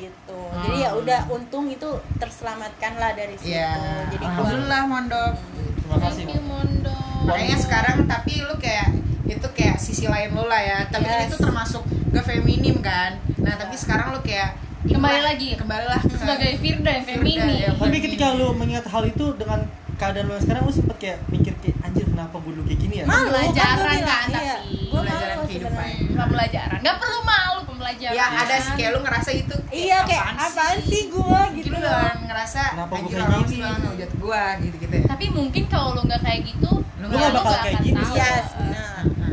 S4: gitu. Jadi ya
S2: Hmm.
S4: udah untung itu terselamatkan lah dari situ.
S2: Iya.
S4: Jadi gua
S2: Alhamdulillah mondok.
S3: Terima kasih.
S1: Thank you, Mondo
S2: Makanya sekarang tapi lu kayak itu kayak sisi lain lu lah ya. Tapi kan
S4: Yes.
S2: itu termasuk gak feminim kan. Nah, tapi sekarang lu kayak
S1: Kembali lagi.
S2: Kembali lah ke-
S1: sebagai Firda yang
S2: Firda,
S1: feminin
S2: ya.
S3: Tapi ketika lu mengingat hal itu dengan keadaan lu yang sekarang, lu sempet kayak mikir kayak, anjir kenapa gue dulu kayak gini ya?
S4: malu
S1: Pembelajaran
S4: kan gua bilang,
S1: kan, tapi.
S4: iya. Gua
S2: Pembelajaran
S4: malu
S2: kehidupan.
S4: sebenarnya.
S1: pembelajaran nggak perlu malu pembelajaran
S2: Ya ada sih kayak lu ngerasa itu
S4: Iya kayak apaan sih gua
S2: Mungkin
S4: gitu
S2: lu
S4: loh.
S2: bakalan ngerasa
S3: Kenapa gua
S2: anjir
S3: kayak
S2: orang
S3: gini?
S2: sih bakalan ngehujat gua gitu-gitu ya.
S1: tapi mungkin kalau lu nggak kayak gitu
S2: Lu
S1: ya
S2: nggak
S1: lu
S3: bakal
S1: nggak
S3: kayak
S1: akan
S3: gini,
S1: tahu.
S4: Iya, benar.
S2: Nah,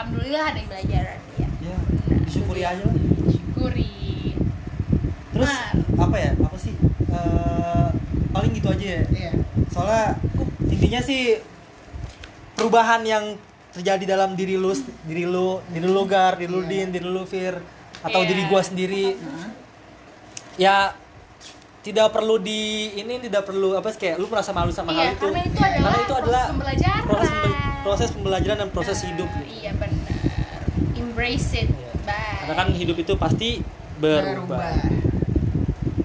S1: alhamdulillah ada yang belajar
S4: Pembelajaran iya.
S3: Ya, disyukuri aja lah.
S1: gurih
S3: Terus
S1: Mar.
S3: apa ya? Apa sih? Eh, paling gitu aja ya.
S2: Iya.
S3: soalnya intinya sih perubahan yang terjadi dalam diri lu diri lu diri lu gar diri lu din diri lu fir atau
S1: Iya.
S3: diri gua sendiri ya tidak perlu di ini tidak perlu apa sih kayak lu merasa malu sama
S1: iya
S3: hal itu
S1: karena itu
S3: Karena
S1: adalah
S3: itu
S1: proses
S3: adalah
S1: pembelajaran
S3: proses, pembe- proses pembelajaran dan proses hidup gitu.
S1: iya benar embrace it
S3: Iya.
S1: bye
S3: karena kan hidup itu pasti berubah.
S2: Berubah.